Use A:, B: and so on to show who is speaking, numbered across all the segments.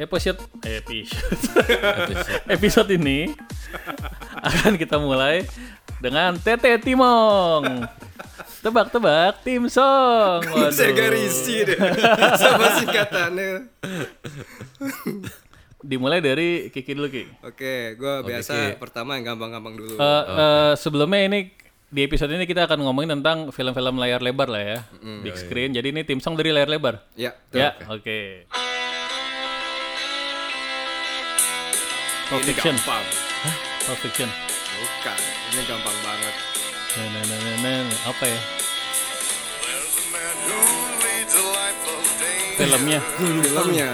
A: episode episode episode ini akan kita mulai dengan Tete Timong. Tebak-tebak tim song.
B: Saya garisir sama singkatannya.
A: Dimulai dari Kiki dulu Ki.
B: Oke, gua biasa pertama yang gampang-gampang dulu.
A: Eh, eh, sebelumnya ini di episode ini kita akan ngomongin tentang film-film layar lebar lah ya, big screen. Jadi ini tim song dari layar lebar.
B: ya, tuh.
A: Ya, oke. Pulp
B: ini
A: Fiction.
B: gampang.
A: Pulp Fiction.
B: Bukan, ini gampang banget.
A: Nah, nah, nah, nah, nah. Apa ya? Filmnya.
B: Filmnya,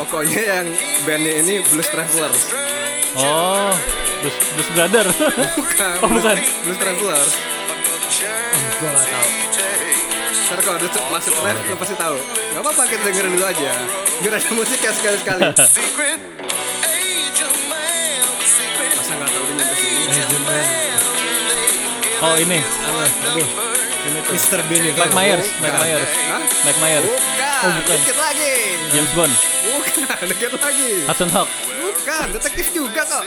B: pokoknya yang bandnya ini Blues Travelers.
A: Oh, Blues, Blues Brother.
B: Bukan,
A: Oh, bukan.
B: Blues Travelers.
C: Gue gak tau
B: Ntar kalau ada cep- masuk live, lo pasti tahu. Gak apa-apa, kita dengerin dulu aja. Biar ada musiknya sekali-sekali. Masa gak tahu ini nyampe sini?
A: Eh, Oh, ini.
C: Mr. Bean itu
A: Mike Myers. Mike Myers.
B: Hah?
A: Mike Myers.
B: Bukan,
A: Oh, bukan.
B: dikit lagi.
A: James Bond.
B: Bukan, dikit lagi.
A: Hudson Hawk.
B: Bukan, detektif juga kok.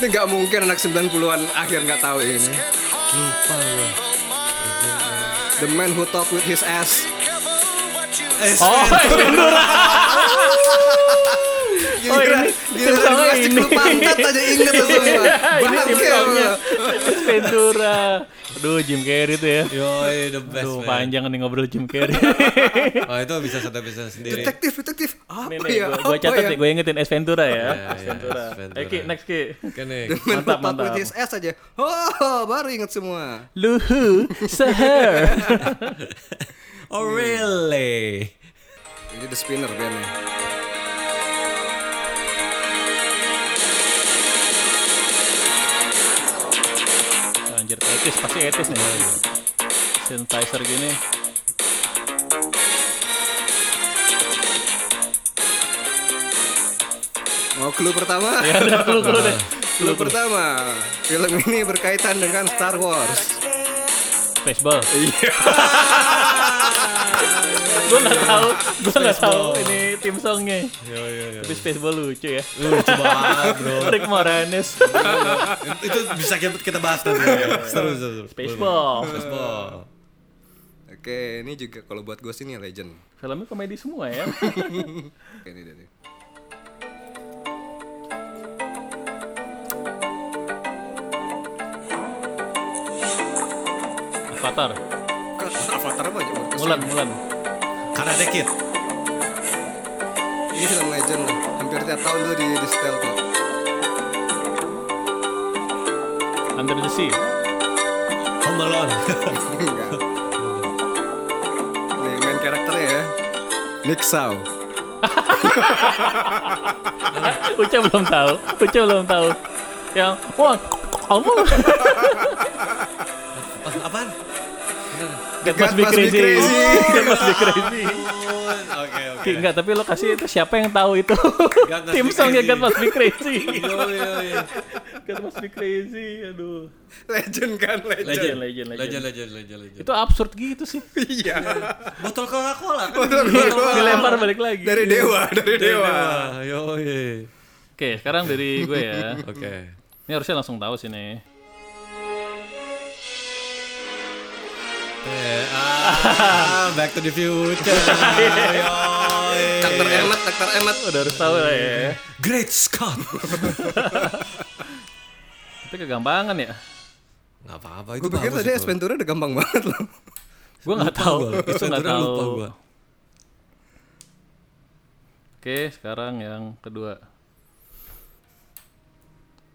B: Ini gak mungkin anak 90-an akhir gak tahu ini.
C: Lupa gue
B: The man who talked with his ass. iya.
A: Oh, Pandora.
B: Gila,
A: Oh, ini
B: gila,
A: tim sama
B: gila,
A: ini. Iya,
B: lu pantat aja inget lo semua.
A: ini tim
B: Bangke
A: songnya.
B: lo.
A: Pandora. Aduh, Jim Carrey tuh ya.
C: Yoi the best
A: Aduh,
C: man
A: panjang nih ngobrol Jim Carrey.
C: Oh itu bisa satu episode sendiri
B: Detektif, detektif. Apa
A: Nih,
B: ya?
A: nih, gua-
B: Apa
A: gua catat
B: ya?
A: nih, gue ingetin S Ventura ya.
C: Iya, iya, Ventura.
A: Ayo Ki, next Ki.
C: Oke nih
B: The man who
A: Mantap,
B: talked with
A: mantap.
B: his ass aja. Oh, baru inget semua.
A: Luhu, seher.
C: Oh really
B: Ini The Spinner ya. bandnya.
A: Anjir, etis, pasti etis nih.
B: Iya,
A: Synthesizer gini.
B: Mau Oh, clue pertama?
A: Ya udah, lu lu deh.
B: clue pertama. Film ini berkaitan dengan Star Wars.
A: Baseball.
B: Iya.
A: gue nggak tahu, gue nggak tahu ini tim songnya.
B: Iya.
C: Yo yo yo
A: Tapi Spaceball lucu ya.
C: Lucu banget bro
A: Rick Moranis.
B: Iya.
C: Itu bisa kita kita bahas nanti ya. Seru seru seru.
A: Baseball.
B: Iya.
C: Baseball
B: Oke, ini juga kalau buat gue sih ini legend.
A: Filmnya komedi semua ya.
B: Oke, ini dia. nih.
A: Avatar.
B: Kan Avatar apa aja?
A: Mulan, Mulan.
C: Karena dekit
B: Ini film legend lah. Hampir tiap tahun tuh di di setel kok.
A: Under the Sea.
C: Home Alone
B: Enggak. Nih main karakternya ya. Nick Shaw.
A: Uca belum tahu. Uca belum tahu. Yang wah, kamu
C: Oh, Apaan?
A: That must
B: God
A: be
B: must be
A: crazy.
B: crazy.
A: That must be crazy.
C: Oke
A: Ki, Enggak, tapi lo kasih itu siapa yang tahu itu?
C: must
A: Tim
C: be
A: songnya
C: crazy.
A: God must be crazy.
C: Yo yo yo
A: God must be crazy. Aduh.
B: Legend kan legend.
A: Legend, legend,
C: Legend
A: legend.
C: legend legend legend
A: Itu absurd gitu sih.
B: Iya. Oh,
C: Botol Coca-Cola kan?
B: Botol Coca-Cola.
A: Dilempar balik lagi.
B: Iya, Dari dewa, dari dewa.
C: Yo yo
A: Oke, sekarang dari gue ya.
C: Oke
A: Ini harusnya langsung tahu sih nih.
C: Eh, ah, Back to the future. Yoi.
B: Dokter Emmet, Dokter Emmet.
A: Udah harus tahu lah ya.
C: Great Scott.
A: Tapi kegampangan ya.
C: Gak apa-apa itu
B: Gue pikir
C: bagus
B: tadi S
C: itu.
B: Ventura udah gampang banget loh.
A: Gue nggak
C: Lupa
A: tahu.
C: gua, Ace
A: Itu nggak
C: Ventura
A: tahu.
C: Lupa gua.
A: Oke, sekarang yang kedua.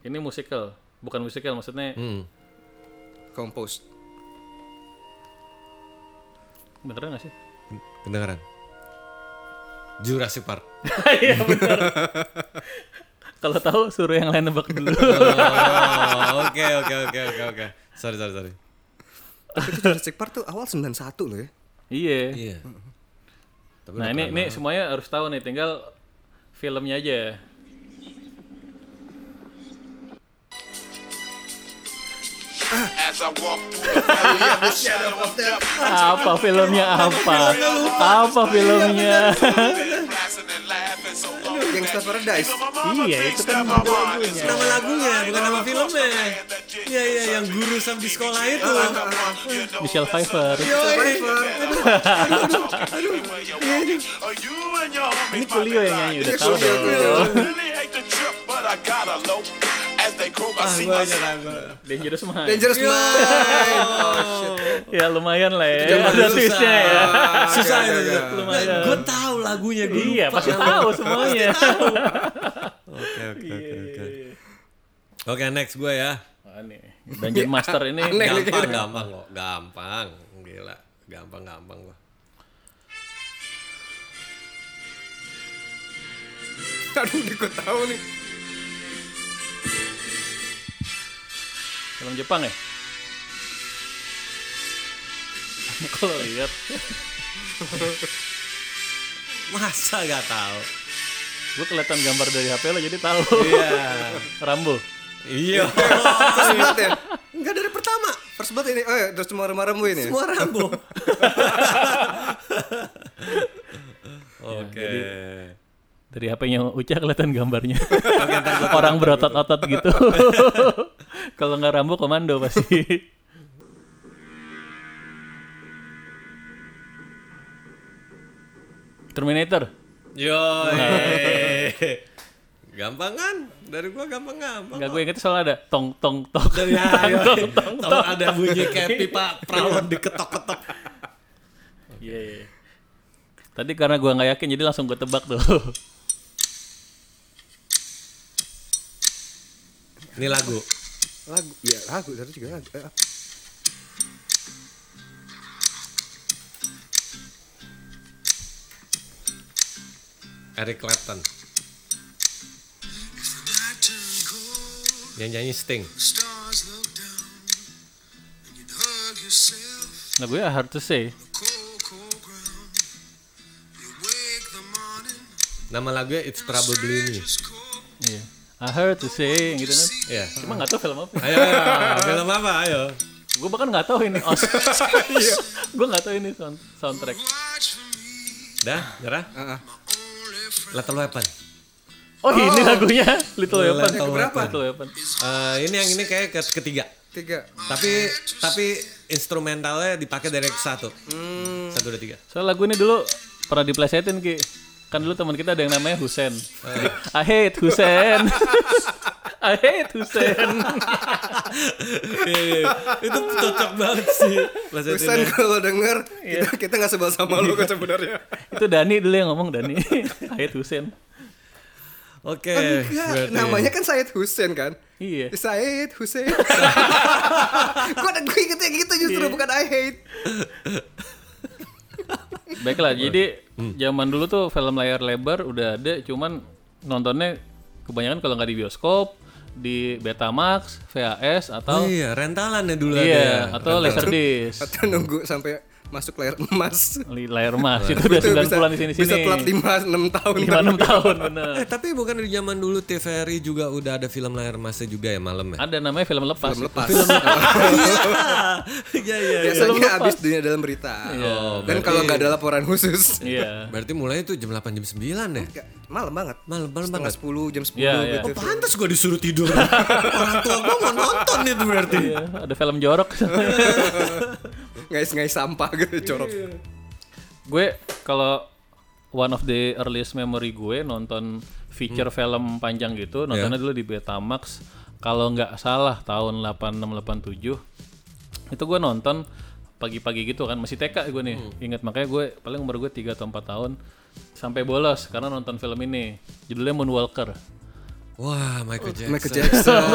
A: Ini musical, bukan musical maksudnya.
C: Hmm.
B: Composed.
A: Beneran gak sih?
C: Kedengaran. Jurassic Park.
A: Iya bener. Kalau tahu suruh yang lain nebak dulu.
C: Oh, Oke oke oke oke oke. Sorry sorry sorry.
B: Tapi itu Jurassic Park tuh awal 91 loh ya.
A: iya.
C: Iya. Tapi
A: nah
C: udah
A: ini ini semuanya harus tahu nih, tinggal filmnya aja.
D: As I walk through the valley of the shadow of death,
A: Apa filmnya apa? Apa filmnya?
D: laughing and laughing so long.
B: Gangsta Paradise.
A: Iya, itu kan
C: Nama lagunya, bukan nama filmnya. Iya iya yang guru sam di sekolah itu.
A: Michelle Pfeiffer.
C: Oh, iya.
B: Survivor.
D: Iya. Ini
A: Ini Coolio yang nyanyi, udah tahu dong.
C: Ah gua aja lah gua.
A: Dangerous Mind.
C: Iya.
B: Dangerous Mind. Oh shit.
A: Ya lumayan lah ya.
C: Jangan
A: Ada
C: susah.
A: twistnya ya.
B: Agak-
C: Susah itu. ya.
B: agak.
A: Lumayan.
C: Gue tahu lagunya gue.
A: Iya,
C: lupa.
A: pasti tahu semuanya.
C: Oke
A: Iya,
C: oke oke oke. Oke next gue ya.
A: Aneh. Dungeon Master ini
B: Aneh.
C: Gampang gampang kok. Gampang. Gila. Gampang gampang gue.
B: Aduh, gue tahu nih.
A: film Jepang ya. Kalau lihat
C: Masa gak tahu?
A: Gue kelihatan gambar dari HP lo jadi tahu.
C: Iya.
A: Rambo.
C: Iya.
B: First Blood ya.
C: Enggak dari pertama.
B: First Blood ini. Oh, ya, terus cuma remah-remah ini. ya?
C: Semua Rambo. Oke.
A: Dari HP-nya Uca kelihatan gambarnya. Orang berotot-otot gitu. Kalau nggak Rambo komando pasti. Terminator.
C: Yoi. gampang kan? Dari gua gampang gampang.
A: Enggak gue inget soalnya ada tong tong tong.
C: Dari ayo. Tahu ada bunyi kayak pipa perawan diketok-ketok.
A: Iya. iya. Tadi karena gue nggak yakin jadi langsung gue tebak tuh.
C: Ini lagu.
B: Lagu. Ya, lagu. Tadi juga lagu. Eh,
C: Eric Clapton. Yang nyanyi Sting.
A: Nah gue hard to say.
C: Nama lagunya It's Probably Me.
A: Iya. I heard to say gitu kan.
C: Iya.
A: Cuma nggak tahu film apa.
C: Ayo, ayo, film apa? Ayo.
A: Gue bahkan nggak tahu ini. Oh, gue nggak tahu ini sound- soundtrack.
C: Dah, nyerah.
B: ah.
C: Lethal Weapon.
A: Oh, ini lagunya Little Weapon.
C: Little
B: Weapon.
A: Little Weapon.
C: Eh, ini yang ini kayak ke- ketiga.
B: Tiga.
C: Tapi tapi instrumentalnya dipakai dari satu.
B: Hmm.
C: Satu dua tiga.
A: Soalnya lagu ini dulu pernah diplesetin ki. Kan dulu teman kita ada yang namanya Husen.
B: Eh.
A: Jadi, I hate Husen. I hate Husen.
C: Iya, iya. itu cocok banget sih. Bahasa
B: Pesan
C: Indonesia.
B: kalau denger, kita, kita gak sebel sama lu kan sebenarnya.
A: Itu Dani dulu yang ngomong Dani. I hate Husen.
C: Oke.
B: Enggak,
C: Eh, berarti. iya.
B: namanya kan Said Hussein kan?
A: Iya.
B: Said Hussein. Kok ada gue ingetnya gitu justru bukan I hate.
A: Baiklah, jadi
B: Hmm.
A: zaman dulu tuh film layar lebar udah ada, cuman nontonnya kebanyakan kalau nggak di bioskop, di Betamax, VHS
C: Oh
A: atau
C: iya, rentalan ya dulu ada. ya.
A: iya atau Laserdisc.
B: Atau nunggu sampai masuk layar emas.
A: Li- Layar emas itu udah 90-an di sini-sini.
B: Bisa telat 5 6 tahun.
A: Lima, enam tahun bener.
C: Eh, tapi bukan di zaman dulu TVRI juga udah ada film layar masnya juga ya malam ya?
A: Ada namanya film lepas. iya,
B: Belum lepas.
C: Iya, iya.
B: Biasanya habis dunia dalam berita. Dan kalau nggak ada laporan khusus,
A: Iya.
C: Berarti mulai itu jam 8 jam 9 ya?
B: nggak- malam banget.
C: Malam malam
B: Setengah 10,
C: banget.
B: jam 10
A: Iya, iya.
B: gitu.
C: Pantes gua disuruh tidur. Orang tua gua mau nonton itu berarti.
A: Iya, ada film jorok.
B: Ngais-ngais sampah gitu, corok.
A: Iya. gue kalau one of the earliest memory gue nonton feature film panjang gitu, nontonnya dulu di Betamax. Kalau nggak salah tahun 8687 itu gue nonton pagi-pagi gitu kan masih TK gue nih. Ingat makanya gue paling umur gue 3 atau 4 tahun sampai bolos karena nonton film ini. Judulnya Moonwalker.
C: Wah, Michael
A: Iya,
B: Oh,
C: Jackson.
B: Michael Jackson.
A: kan?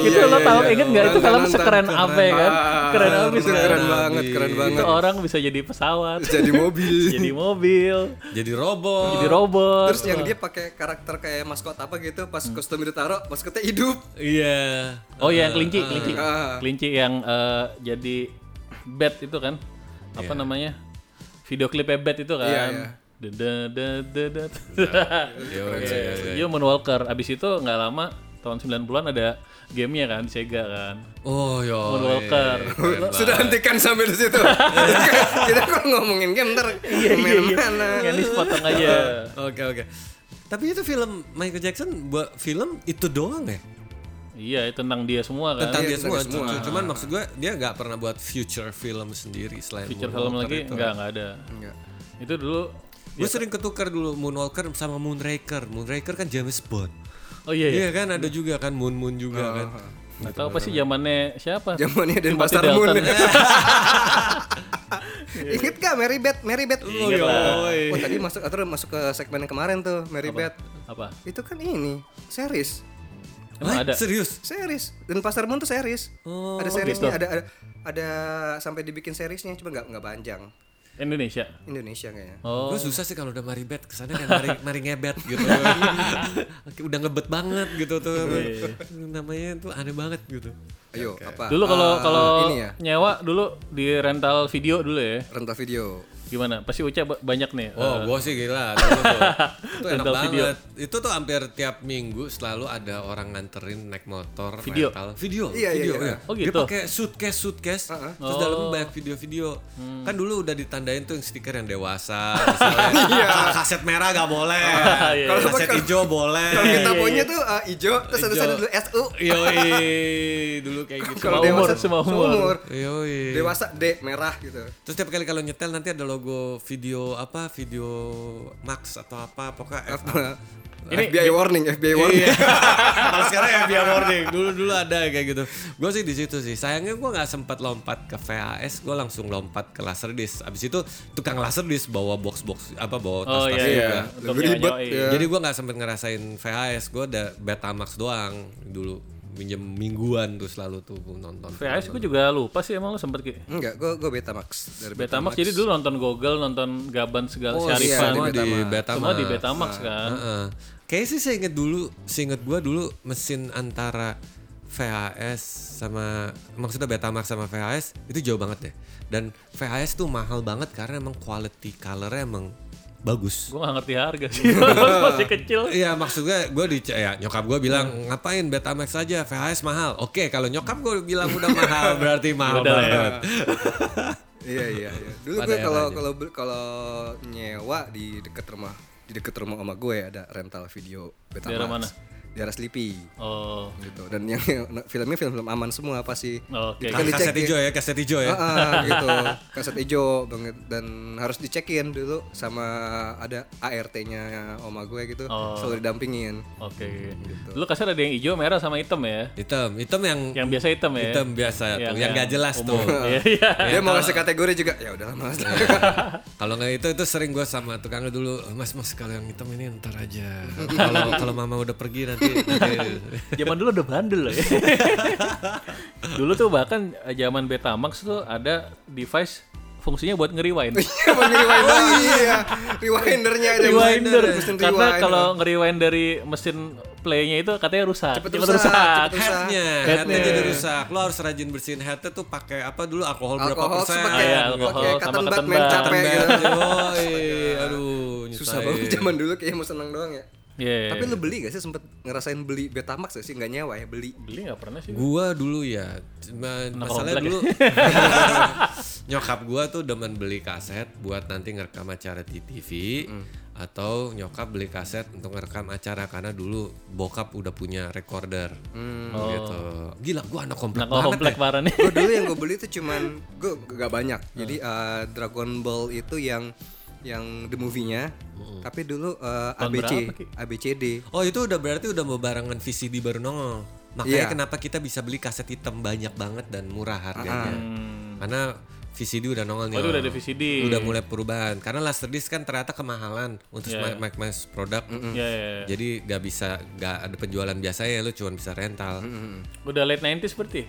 A: itu
B: Iya,
A: lo
B: iya,
A: tahu
B: iya.
A: inget nggak itu
B: Nonton,
A: film
B: nonton.
A: sekeren apa ya kan? Keren
B: Ah,
A: abis kan?
B: Keren banget, keren
A: Itu
B: banget.
A: orang bisa jadi pesawat,
B: Jadi mobil.
A: jadi mobil,
C: Jadi robot.
A: jadi robot.
B: Terus yang dia pakai karakter kayak maskot apa gitu, pas
A: Hmm.
B: kostum ditaruh, maskotnya hidup.
C: Iya.
A: Oh iya yang kelinci, kelinci.
B: ah.
A: Kelinci yang eh, jadi bat itu kan. Apa namanya? Video klipnya bat itu kan.
B: Iya, iya.
A: Dededededet.
C: Yo, yo, yo,
B: iya.
C: yo.
A: Human Iya, Walker. Abis itu nggak lama tahun 90-an ada gamenya kan di Sega kan.
C: Oh yo.
A: Moon
B: iya,
A: Walker.
B: Sudah hentikan sampai di situ. Kita- Kita kok ngomongin game ntar
A: Iya,
B: main mana.
A: Yang ini sepotong
B: Iya.
A: aja.
C: Oke oke. Tapi itu film Michael Jackson buat film itu doang ya
A: Iya, itu tentang dia semua kan.
C: tentang
B: Iya,
C: dia semua.
B: tentang semua.
C: Cu- Cuman maksud gue dia nggak pernah buat future film sendiri selain
A: Feature
C: Moon
A: film
C: Walker
A: lagi
C: itu.
A: nggak Iya. nggak ada.
B: Enggak.
A: Itu dulu
C: Gue sering ketukar dulu Moonwalker sama Moonraker. Moonraker kan James Bond.
A: Oh iya, iya. Oh,
C: Iya kan ada juga kan Moon Moon juga kan.
A: Nggak tahu apa sih zamannya siapa?
B: Zamannya
A: Timothy
B: Denpasar
A: Dalton.
B: Moon. Ingat gak Mary Beth? Mary Beth. Oh,
C: Yoi.
B: tadi masuk atau masuk ke segmen yang kemarin tuh Mary Beth.
A: apa?
B: Itu kan ini series.
A: Emang
C: Hah?
A: ada.
C: Serius?
B: Series dan pasar Moon tuh series.
A: Oh,
B: ada seriesnya, ada, ada ada sampai dibikin seriesnya cuma nggak nggak panjang.
A: Indonesia.
B: Indonesia kayaknya.
A: Oh.
C: Gue susah sih kalau udah mari bed kesana kayak mari, mari ngebet gitu. udah ngebet banget gitu tuh. iya. Namanya tuh aneh banget gitu.
B: Ayo apa?
A: Dulu kalau
B: Ah,
A: kalau
B: ini ya
A: nyewa dulu di rental video dulu ya.
B: rental video.
A: Gimana? Pasti Uca ba- banyak nih.
C: Oh, gue sih gila. dulu tuh. Itu enak
A: Rental video.
C: banget. Itu tuh hampir tiap minggu selalu ada orang nganterin naik motor
A: Video.
C: rental. Video.
B: Iya, iya,
C: video.
B: iya.
A: Oh,
C: Dia
A: gitu. Oh.
C: pakai suitcase, suitcase. Terus dalamnya banyak video-video.
A: Hmm.
C: Kan dulu udah ditandain tuh yang stiker yang dewasa. misalnya. Kalau kaset merah gak boleh.
A: iya.
C: Ah, Kalau kaset hijau boleh.
B: Kalau kita punya tuh ah, ijo, terus ada ada
C: Ijo.
B: dulu SU.
C: Yoi, dulu kayak gitu.
A: Semua umur, semua umur. Iya.
C: Yoi.
B: Dewasa D merah gitu.
C: Terus tiap kali kalau nyetel nanti ada logo video apa video Max atau apa pokoknya F
B: Apa?
A: Ini-
B: FBI warning, FBI warning.
C: Iya. Kalau sekarang ya biar warning. Dulu dulu ada kayak gitu. Gue sih di situ sih. Sayangnya gue nggak sempat lompat ke VHS. Gue langsung lompat ke Laserdisc. Abis itu tukang Laserdisc bawa box box apa bawa tas
A: Oh
C: tas
A: iya
C: juga.
A: iya.
B: Iya,
A: Untuk
B: lebih ribet,
A: nyewa,
B: iya.
A: iya.
C: Jadi gue nggak sempat ngerasain VHS. Gue ada Betamax doang dulu. Minjem mingguan tuh selalu tuh gua nonton.
B: iya.
A: VHS gue juga lupa sih emang lo sempet ki.
B: Enggak, gua gua Betamax dari
A: Betamax jadi dulu nonton Google, nonton Gaban segala
C: Oh,
A: Syarifan.
B: iya,
C: semua
B: di
C: di
B: Betamax. Ah.
C: Betamax.
A: Semua di Betamax kan.
C: Heeh. Kayaknya sih saya inget dulu, seinget gua dulu mesin antara VHS sama maksudnya Betamax sama VHS itu jauh banget deh. Dan VHS tuh mahal banget karena emang quality colornya emang bagus.
A: Gue gak ngerti harga sih. Masih kecil.
C: Iya maksudnya gue di ya, nyokap gue bilang ngapain Betamax aja VHS mahal. Oke kalau nyokap gue bilang udah mahal berarti mahal
A: Udah lah ya.
C: banget.
B: iya iya iya. Dulu
C: Pada
B: gue
C: era
B: kalau
C: aja.
B: kalau bel- kalau nyewa di dekat rumah di dekat rumah oma gue ada rental video Betamax.
A: Daerah mana?
B: Daerah Sleepy
A: Oh.
B: gitu. Dan yang filmnya film-film aman semua apa sih?
A: Oke.
B: Itu
C: Kas-
B: dicek
C: Kaset
B: ya.
C: hijau ya, kaset hijau ya.
B: Heeh, gitu. Kaset ijo banget dan harus dicekin dulu sama ada ART-nya oma gue gitu.
A: Oh.
B: Selalu didampingin.
A: Oke. Dulu kasar ada yang hijau, merah sama hitam ya.
C: Hitam, hitam yang
A: Yang biasa hitam ya.
C: hitam biasa tuh, yang gak jelas
A: umum.
C: tuh.
A: Iya iya.
B: Dia mau ngasih kategori juga. Ya udahlah, Mas.
C: Kalau nggak itu itu sering gue sama tukangnya dulu mas mas kalau yang hitam ini ntar aja. Kalau kalau mama udah pergi nanti. nanti.
A: Zaman dulu udah bandel loh ya. dulu tuh bahkan eh, zaman Betamax tuh ada device fungsinya buat ngeriwain.
B: Emang
A: Oh,
B: rewind lagi iya. Rewindernya ada
A: Rewinder.
B: mesin
A: Karena
B: rewind.
A: kalau ngeriwain dari mesin playnya itu katanya rusak.
B: Cepet rusak, cepet rusak.
C: Headnya,
A: Headnya.
C: headnya jadi rusak. Lo harus rajin bersihin headnya tuh pakai apa dulu alkohol, berapa
B: alkohol
C: persen?
B: pakai
A: Iya, alkohol
B: pakai
A: sama
B: cotton bud
A: cotton
B: main
A: bud.
B: capek
C: Tambah,
B: gitu.
C: yoi. aduh
B: Susah
C: nyusahin.
B: banget zaman dulu kayaknya mau senang doang ya.
A: Iya.
B: Tapi lu beli gak sih sempet ngerasain beli Betamax gak sih? Gak nyewa ya beli.
A: beli nggak pernah sih.
C: Gua dulu ya, ma- masalahnya
A: komplek
C: dulu nyokap gua tuh demen beli kaset buat nanti ngerekam acara di TV
A: Mm.
C: atau nyokap beli kaset untuk ngerekam acara karena dulu bokap udah punya recorder gitu. Gila gua anak komplek
A: Nah, kalau
C: banget
A: Mm. komplek
C: ya.
A: parah nih.
B: Gue dulu yang gue beli itu cuman gue gak banyak.
A: Hmm.
B: Jadi eh, Dragon Ball itu yang yang the movie-nya. Tapi dulu eh,
A: Hmm. Tahun
B: ABC,
A: berapa, Ki?
B: ABCD.
C: Oh itu udah berarti udah mau barengan VCD baru nongol. Makanya
B: Iya.
C: kenapa kita bisa beli kaset hitam banyak banget dan murah harganya. Karena VCD udah nongol nih.
A: Mm. Oh, itu udah
C: Om.
A: ada VCD.
C: Udah mulai perubahan. Karena Laserdisc kan ternyata kemahalan untuk
A: Iya.
C: mic mass produk.
A: Iya iya. iya.
C: Jadi gak bisa gak ada penjualan biasanya lu cuma bisa rental.
A: Udah late 90s berarti.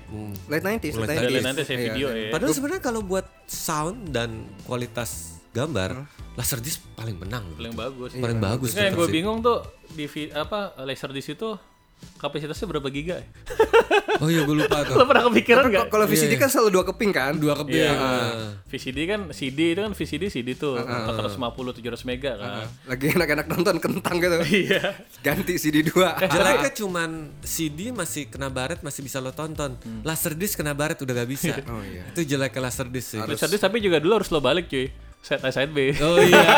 B: Late 90s, late
A: Udah
B: 90s.
A: Hmm. late 90s ya
B: Iya.
A: video ya.
C: Padahal sebenarnya kalau buat sound dan kualitas gambar, Laserdisc paling menang.
A: Paling bagus.
C: Paling bagus.
A: Nah, yang
C: tetap
A: gue
C: sih.
A: bingung tuh di vi- apa laser di situ kapasitasnya berapa giga ya?
C: Oh iya gue lupa
A: Lo
C: tuh.
A: pernah kepikiran
B: Kalau
A: nggak?
B: kalau VCD
C: Iya.
B: kan selalu dua keping kan?
C: Dua keping.
A: Iya.
C: Nah,
A: VCD kan CD itu kan VCD CD tuh 450 700 mega kan.
B: Lagi enak-enak nonton kentang gitu.
A: Iya.
B: Ganti CD dua.
C: Jeleknya kan cuman CD masih kena baret masih bisa lo tonton. Laser disc kena baret udah gak bisa.
B: Oh, iya.
C: Itu jeleknya laser disc sih.
A: Terus tapi juga dulu harus lo balik cuy. Set A side B.
C: Oh iya.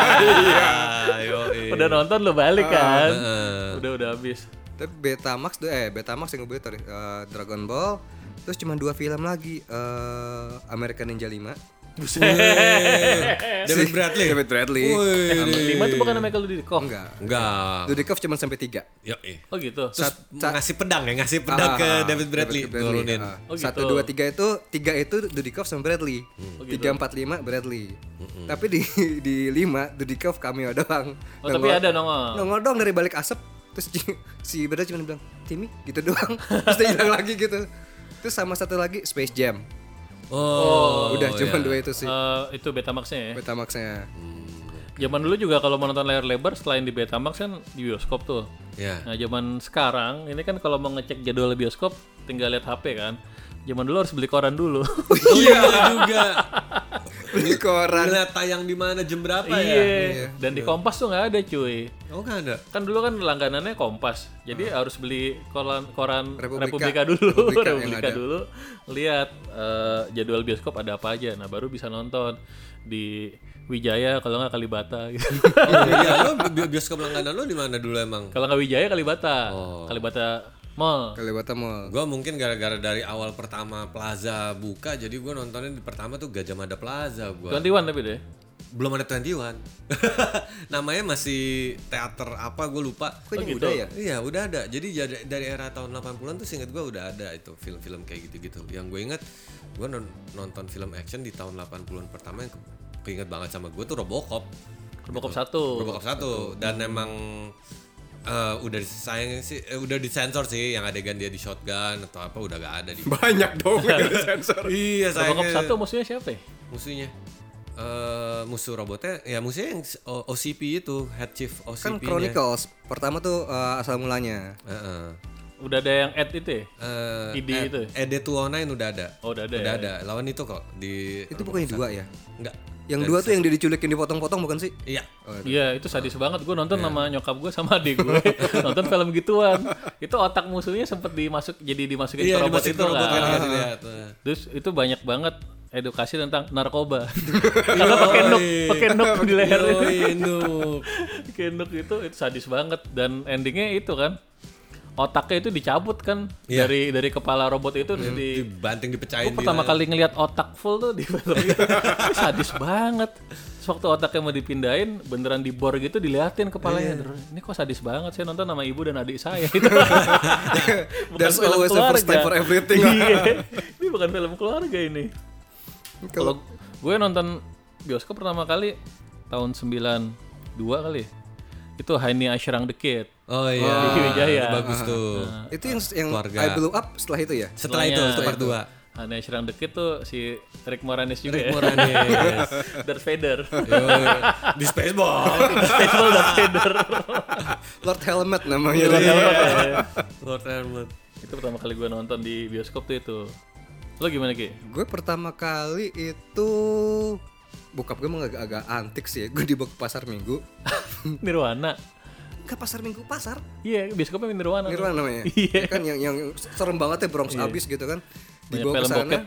C: Iya. Ah,
A: udah nonton lo balik kan. Udah udah habis.
B: Tapi Betamax tuh eh Betamax yang gue tadi eh, Dragon Ball terus cuma dua film lagi eh American Ninja 5
C: David Bradley.
B: David Bradley.
C: Wih.
A: Lima tuh bukan Michael Dudikoff.
B: enggak
C: iya, Enggak.
B: Dudikoff cuma sampai tiga
C: Yo, eh.
A: Oh gitu.
C: Terus ngasih pedang ya, ngasih pedang
B: Ah,
C: ke
B: ah,
C: David Bradley, turunin.
B: ah.
A: Oh, gitu.
B: Satu
A: Hmm. Oh
B: dua tiga itu tiga itu Dudikoff sama Bradley. Tiga empat lima Bradley. Tapi di di lima Dudikoff cameo doang. Nah,
A: Oh, tapi ada
C: iya.
A: nongol.
B: Nongol doang dari balik asap. Terus si- si Bradley cuma bilang Timmy gitu doang. Terus dia hilang lagi gitu. Terus sama satu lagi Space Jam.
C: Oh,
B: Udah cuma
C: iya.
B: dua itu sih
A: Eh, itu Betamax-nya ya.
B: Betamax-nya.
A: Zaman dulu juga kalau mau nonton layar lebar selain di Betamax kan di bioskop tuh.
C: Iya.
A: Nah, zaman sekarang ini kan kalau mau ngecek jadwal bioskop tinggal lihat HP kan. Zaman dulu harus beli koran dulu.
C: Oh, iya juga.
B: Beli koran.
C: Gila tayang di mana jam berapa ya?
A: Iya. Dan di Kompas tuh nggak ada cuy.
C: Oh, enggak ada.
A: Kan dulu kan langganannya Kompas. Jadi harus beli koran koran
B: Republika.
A: Republika, dulu,
B: Republika
A: Republika,
B: yang ada.
A: dulu. Lihat eh, jadwal bioskop ada apa aja. Nah, baru bisa nonton di Wijaya kalau nggak Kalibata gitu.
C: Oh, iya, lo bi- bioskop langganan lo di mana dulu emang?
A: kalau nggak Wijaya Kalibata. Kalibata Mall.
B: Kalibata Mall.
C: Gua mungkin gara-gara dari awal pertama Plaza buka, jadi gua nontonnya di pertama tuh Gajah Mada Plaza gua.
A: 21 tapi deh.
C: Belum ada 21. Namanya masih teater apa gue lupa.
B: Kok ini udah ya?
C: Iya udah ada. Jadi ya da- dari era tahun 80-an tuh seinget gue udah ada itu film-film kayak gitu-gitu. Yang gue inget gue non- nonton film action di tahun 80-an pertama yang ke- keinget banget sama gue tuh Robocop.
A: Robocop 1.
C: Robocop 1 dan emang eh, udah disayang sih eh, udah disensor sih yang adegan dia di shotgun atau apa udah gak ada di
B: Banyak dong yang sensor.
C: Iya
A: Robocop
C: sayangnya
A: 1 musuhnya siapa ya?
C: musuhnya eh musuh robotnya ya musuhnya yang s- O- OCP itu head chief OCP
B: Kan Chronicles pertama tuh eh, asal mulanya.
A: Udah ada yang ad itu ya? ID itu. ya?
C: ED209 Eh, udah ada.
A: Oh, udah ada
C: Udah
A: ya?
C: ada. Lawan itu kok di
B: Itu bukannya
C: ah.
B: dua ya?
C: enggak.
B: Yang dua tuh yang dia diculikin dipotong-potong bukan sih?
C: Iya.
A: Iya, itu sadis banget. Gue nonton sama nyokap gue sama adik gue nonton film gituan. Itu otak musuhnya sempet dimasuk jadi dimasukin
C: Iya,
A: ke robot
C: dimasukin
A: itu
C: ke robot kan,
A: kan.
C: dikasih lihat.
A: Terus itu banyak banget edukasi tentang narkoba. Karena pakai nuk, pakai nuk di lehernya.
C: Yoi, nuk.
A: pakai nuk itu itu sadis banget dan endingnya itu kan otaknya itu dicabut kan
C: Iya.
A: dari dari kepala robot itu di
C: Dibanting dipecahin.
A: Gue pertama kali ngelihat otak full tuh di film itu. Ini sadis banget. Terus waktu otaknya mau dipindahin, beneran dibor gitu diliatin
B: Iya.
A: kepalanya. Ini kok sadis banget. Saya nonton sama ibu dan adik saya. Itu bukan
B: There's
A: film
B: always a
A: keluarga.
B: first time for everything.
A: Iya. Ini bukan film keluarga ini.
B: Kalau
A: Kalau gue nonton bioskop pertama kali tahun 92 kali. ya. Itu Haini Ashrang The Kid.
C: Oh iya.
A: Di Wijaya.
C: Itu bagus tuh.
B: itu yang yang
C: Keluarga.
B: I blew up setelah itu ya.
C: Setelah itu itu part 2.
A: Haini Ashrang The Kid tuh si Rick Moranis juga
C: Rick
A: ya.
C: Moranis.
A: Darth Vader.
C: Yoi. Di Spaceball.
A: Baseball Darth Vader. Iya.
B: Lord Helmet namanya.
C: Iya, Lord ya. Helmet.
A: itu pertama kali gue nonton di bioskop tuh itu. Lo gimana Ki?
B: Gue pertama kali itu bokap gue emang agak-agak antik sih ya. Gue dibawa ke pasar minggu.
A: Nirwana.
B: Enggak pasar minggu, pasar.
A: Iya, bioskopnya Nirwana. tuh.
B: Nirwana namanya.
A: Iya.
B: Ya Kan yang yang serem banget ya Bronx abis gitu kan.
A: Banyak
B: Dibawa ke
A: film
B: sana.
A: bokep.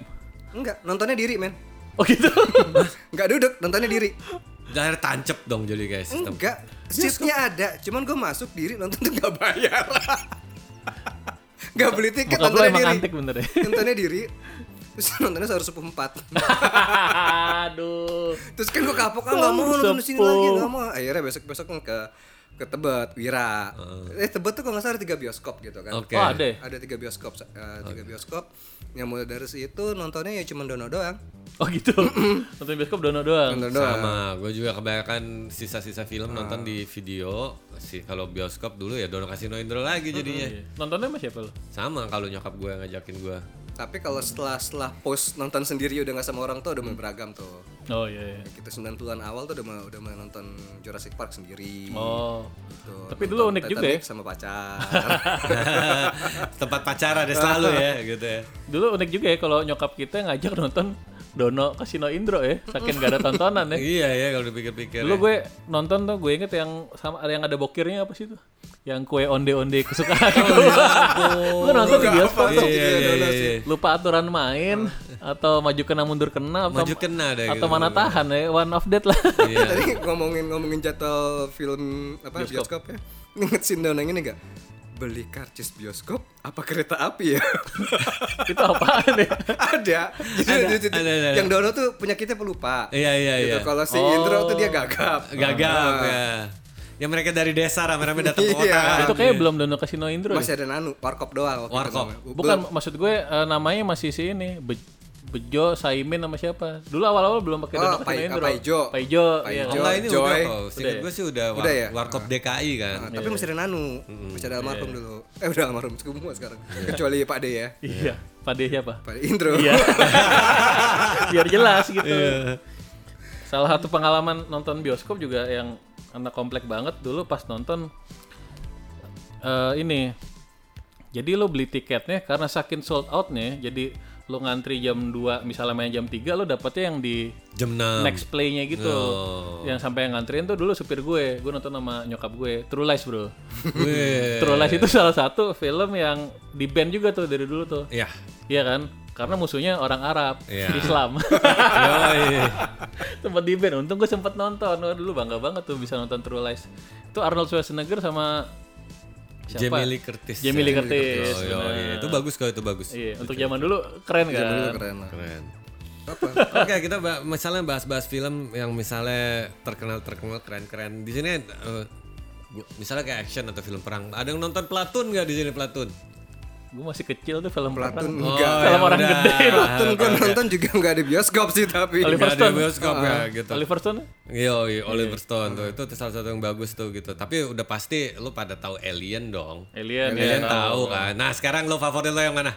B: Enggak, nontonnya diri, men.
A: Oh gitu.
B: Enggak duduk, nontonnya diri.
C: Lahir tancep dong jadi
B: Hmm.
C: guys. sistem.
B: Enggak,
A: Iya,
B: seatnya ada, cuman gue masuk diri nonton tuh gak bayar. gak beli tiket
A: Bokap lo
B: nontonnya
A: emang
B: diri.
A: antik bener ya.
B: Nontonnya diri. Terus nontonnya seharus empat.
A: Aduh.
B: Terus kan gue kapok ah nggak mau nonton di sini
A: Sepuh.
B: lagi nggak mau. Akhirnya besok besok ke ke Tebet, Wira. Eh Tebet tuh kalau nggak salah ada tiga bioskop gitu kan.
C: Oke.
A: Oh ada ya?
B: Ada tiga bioskop, sa- eh, tiga bioskop. Yang mulai dari situ nontonnya ya cuman dono doang.
A: Oh gitu. nonton bioskop dono doang.
B: Nonton doang.
C: Sama, gue juga kebanyakan sisa-sisa film nonton di video sih. Kalau bioskop dulu ya Dono Kasino Indro lagi jadinya.
A: Iya. Nontonnya sama siapa lo?
C: Sama kalau nyokap gue ngajakin gue.
B: Tapi kalau setelah setelah post nonton sendiri udah nggak sama orang tuh udah mulai beragam tuh.
A: Oh iya. iya.
B: kita 90-an awal tuh udah mau- udah mau nonton Jurassic Park sendiri
A: Oh.
B: gitu.
A: Tapi dulu
B: Nonton
A: unik juga
B: Titanic
A: ya.
B: sama pacar
C: Tempat pacar ada selalu ya gitu ya.
A: Dulu unik juga ya kalau nyokap kita ngajak nonton Dono Kasino Indro ya, saking gak ada tontonan ya.
C: Iya ya kalau dipikir-pikir.
A: Dulu
C: ya.
A: gue nonton tuh gue inget yang sama ada yang ada bokirnya apa sih tuh? Yang kue onde-onde kesukaan gue. gue nonton di bioskop
C: Iya,
A: tuh.
C: iya, iya, iya, iya.
A: Lupa aturan main atau maju kena mundur kena atau,
C: Maju kena deh.
A: atau
C: gitu.
A: mana tahan ya one of that lah.
C: Iya.
B: tadi ngomongin ngomongin jadwal film apa bioskop, ya inget Sindon yang ini gak beli karcis bioskop apa kereta api ya
A: Itu apaan ya?
B: ada. Jadi- jadi-
C: ada, ada.
B: yang Dono tuh penyakitnya pelupa
C: Iya iya
B: gitu
C: iya.
B: kalau si Indro tuh dia gagap Ah,
C: Gagap
A: Ah.
C: ya. Ya mereka dari desa rame-rame datang ke kota.
B: Iya.
C: kan.
A: Itu kayaknya belum Dono Kasino Indro. ya.
B: masih ada Nanu warkop doang waktu itu
C: Warkop.
B: namanya.
A: Bukan maksud gue eh, namanya masih si ini Be- Bejo, Saimin sama siapa? Dulu awal-awal belum pakai
B: Oh,
A: Dono
B: Pai-
A: Kasino Indro.
B: Paijo.
A: Paijo, iya.
C: Oh, enggak ini
B: Joy.
C: udah kok.
A: Udah ya?
C: Singkat
A: Ah.
C: gue sih udah, war-
B: Udah ya?
C: warkop DKI kan.
B: Nah, tapi masih ada Nanu masih ada
C: Iya.
B: almarhum dulu eh udah almarhum semua sekarang kecuali Pak De ya
A: Iya. Pade siapa?
B: Pak De Indro
A: Iya. Biar jelas gitu. Salah satu pengalaman nonton bioskop juga yang anak komplek banget dulu pas nonton eh, ini. Jadi lo beli tiketnya karena saking sold outnya, jadi lo ngantri jam 2 misalnya main jam 3 lo dapetnya yang di
C: Jam 6.
A: next playnya gitu.
C: Oh.
A: Yang sampai yang ngantriin tuh dulu supir gue, gue nonton sama nyokap gue, True Lies bro.
C: Weh.
A: True Lies itu salah satu film yang di band juga tuh dari dulu tuh.
C: Iya.
A: Iya kan? Karena musuhnya orang Arab,
C: Iya.
A: Islam.
C: Yoi.
A: sempet di band. Untung gue sempet nonton. Wah, dulu bangga banget tuh bisa nonton True Lies. Itu Arnold Schwarzenegger sama siapa?
C: Jamie Lee Curtis.
A: Jamie Lee Curtis.
C: Oh, yoi.
A: bener.
C: Itu bagus kok itu bagus.
A: Iya, untuk zaman dulu keren kan?
B: Dulu keren lah
C: Keren. Oke, kita bah- misalnya bahas-bahas film yang misalnya terkenal-terkenal keren-keren. Di sini eh, gua- misalnya kayak action atau film perang. Ada yang nonton Platoon nggak di sini Platoon?
A: Gue masih kecil tuh film perang.
B: Platun enggak
A: Film orang
C: udah.
A: gede.
B: Platun
C: Ah,
B: gue Eh, nonton juga nggak ada bioskop sih tapi
A: Oliver
C: Nggak ada
A: Stone.
C: bioskop ya gitu.
A: Oliver Stone?
C: Yo, Oliver Stone tuh itu salah satu yang bagus tuh gitu. Tapi udah pasti lu pada tahu Alien dong.
A: Alien, ya.
C: Alien tahu kan. Nah, sekarang lo favorit lo yang mana?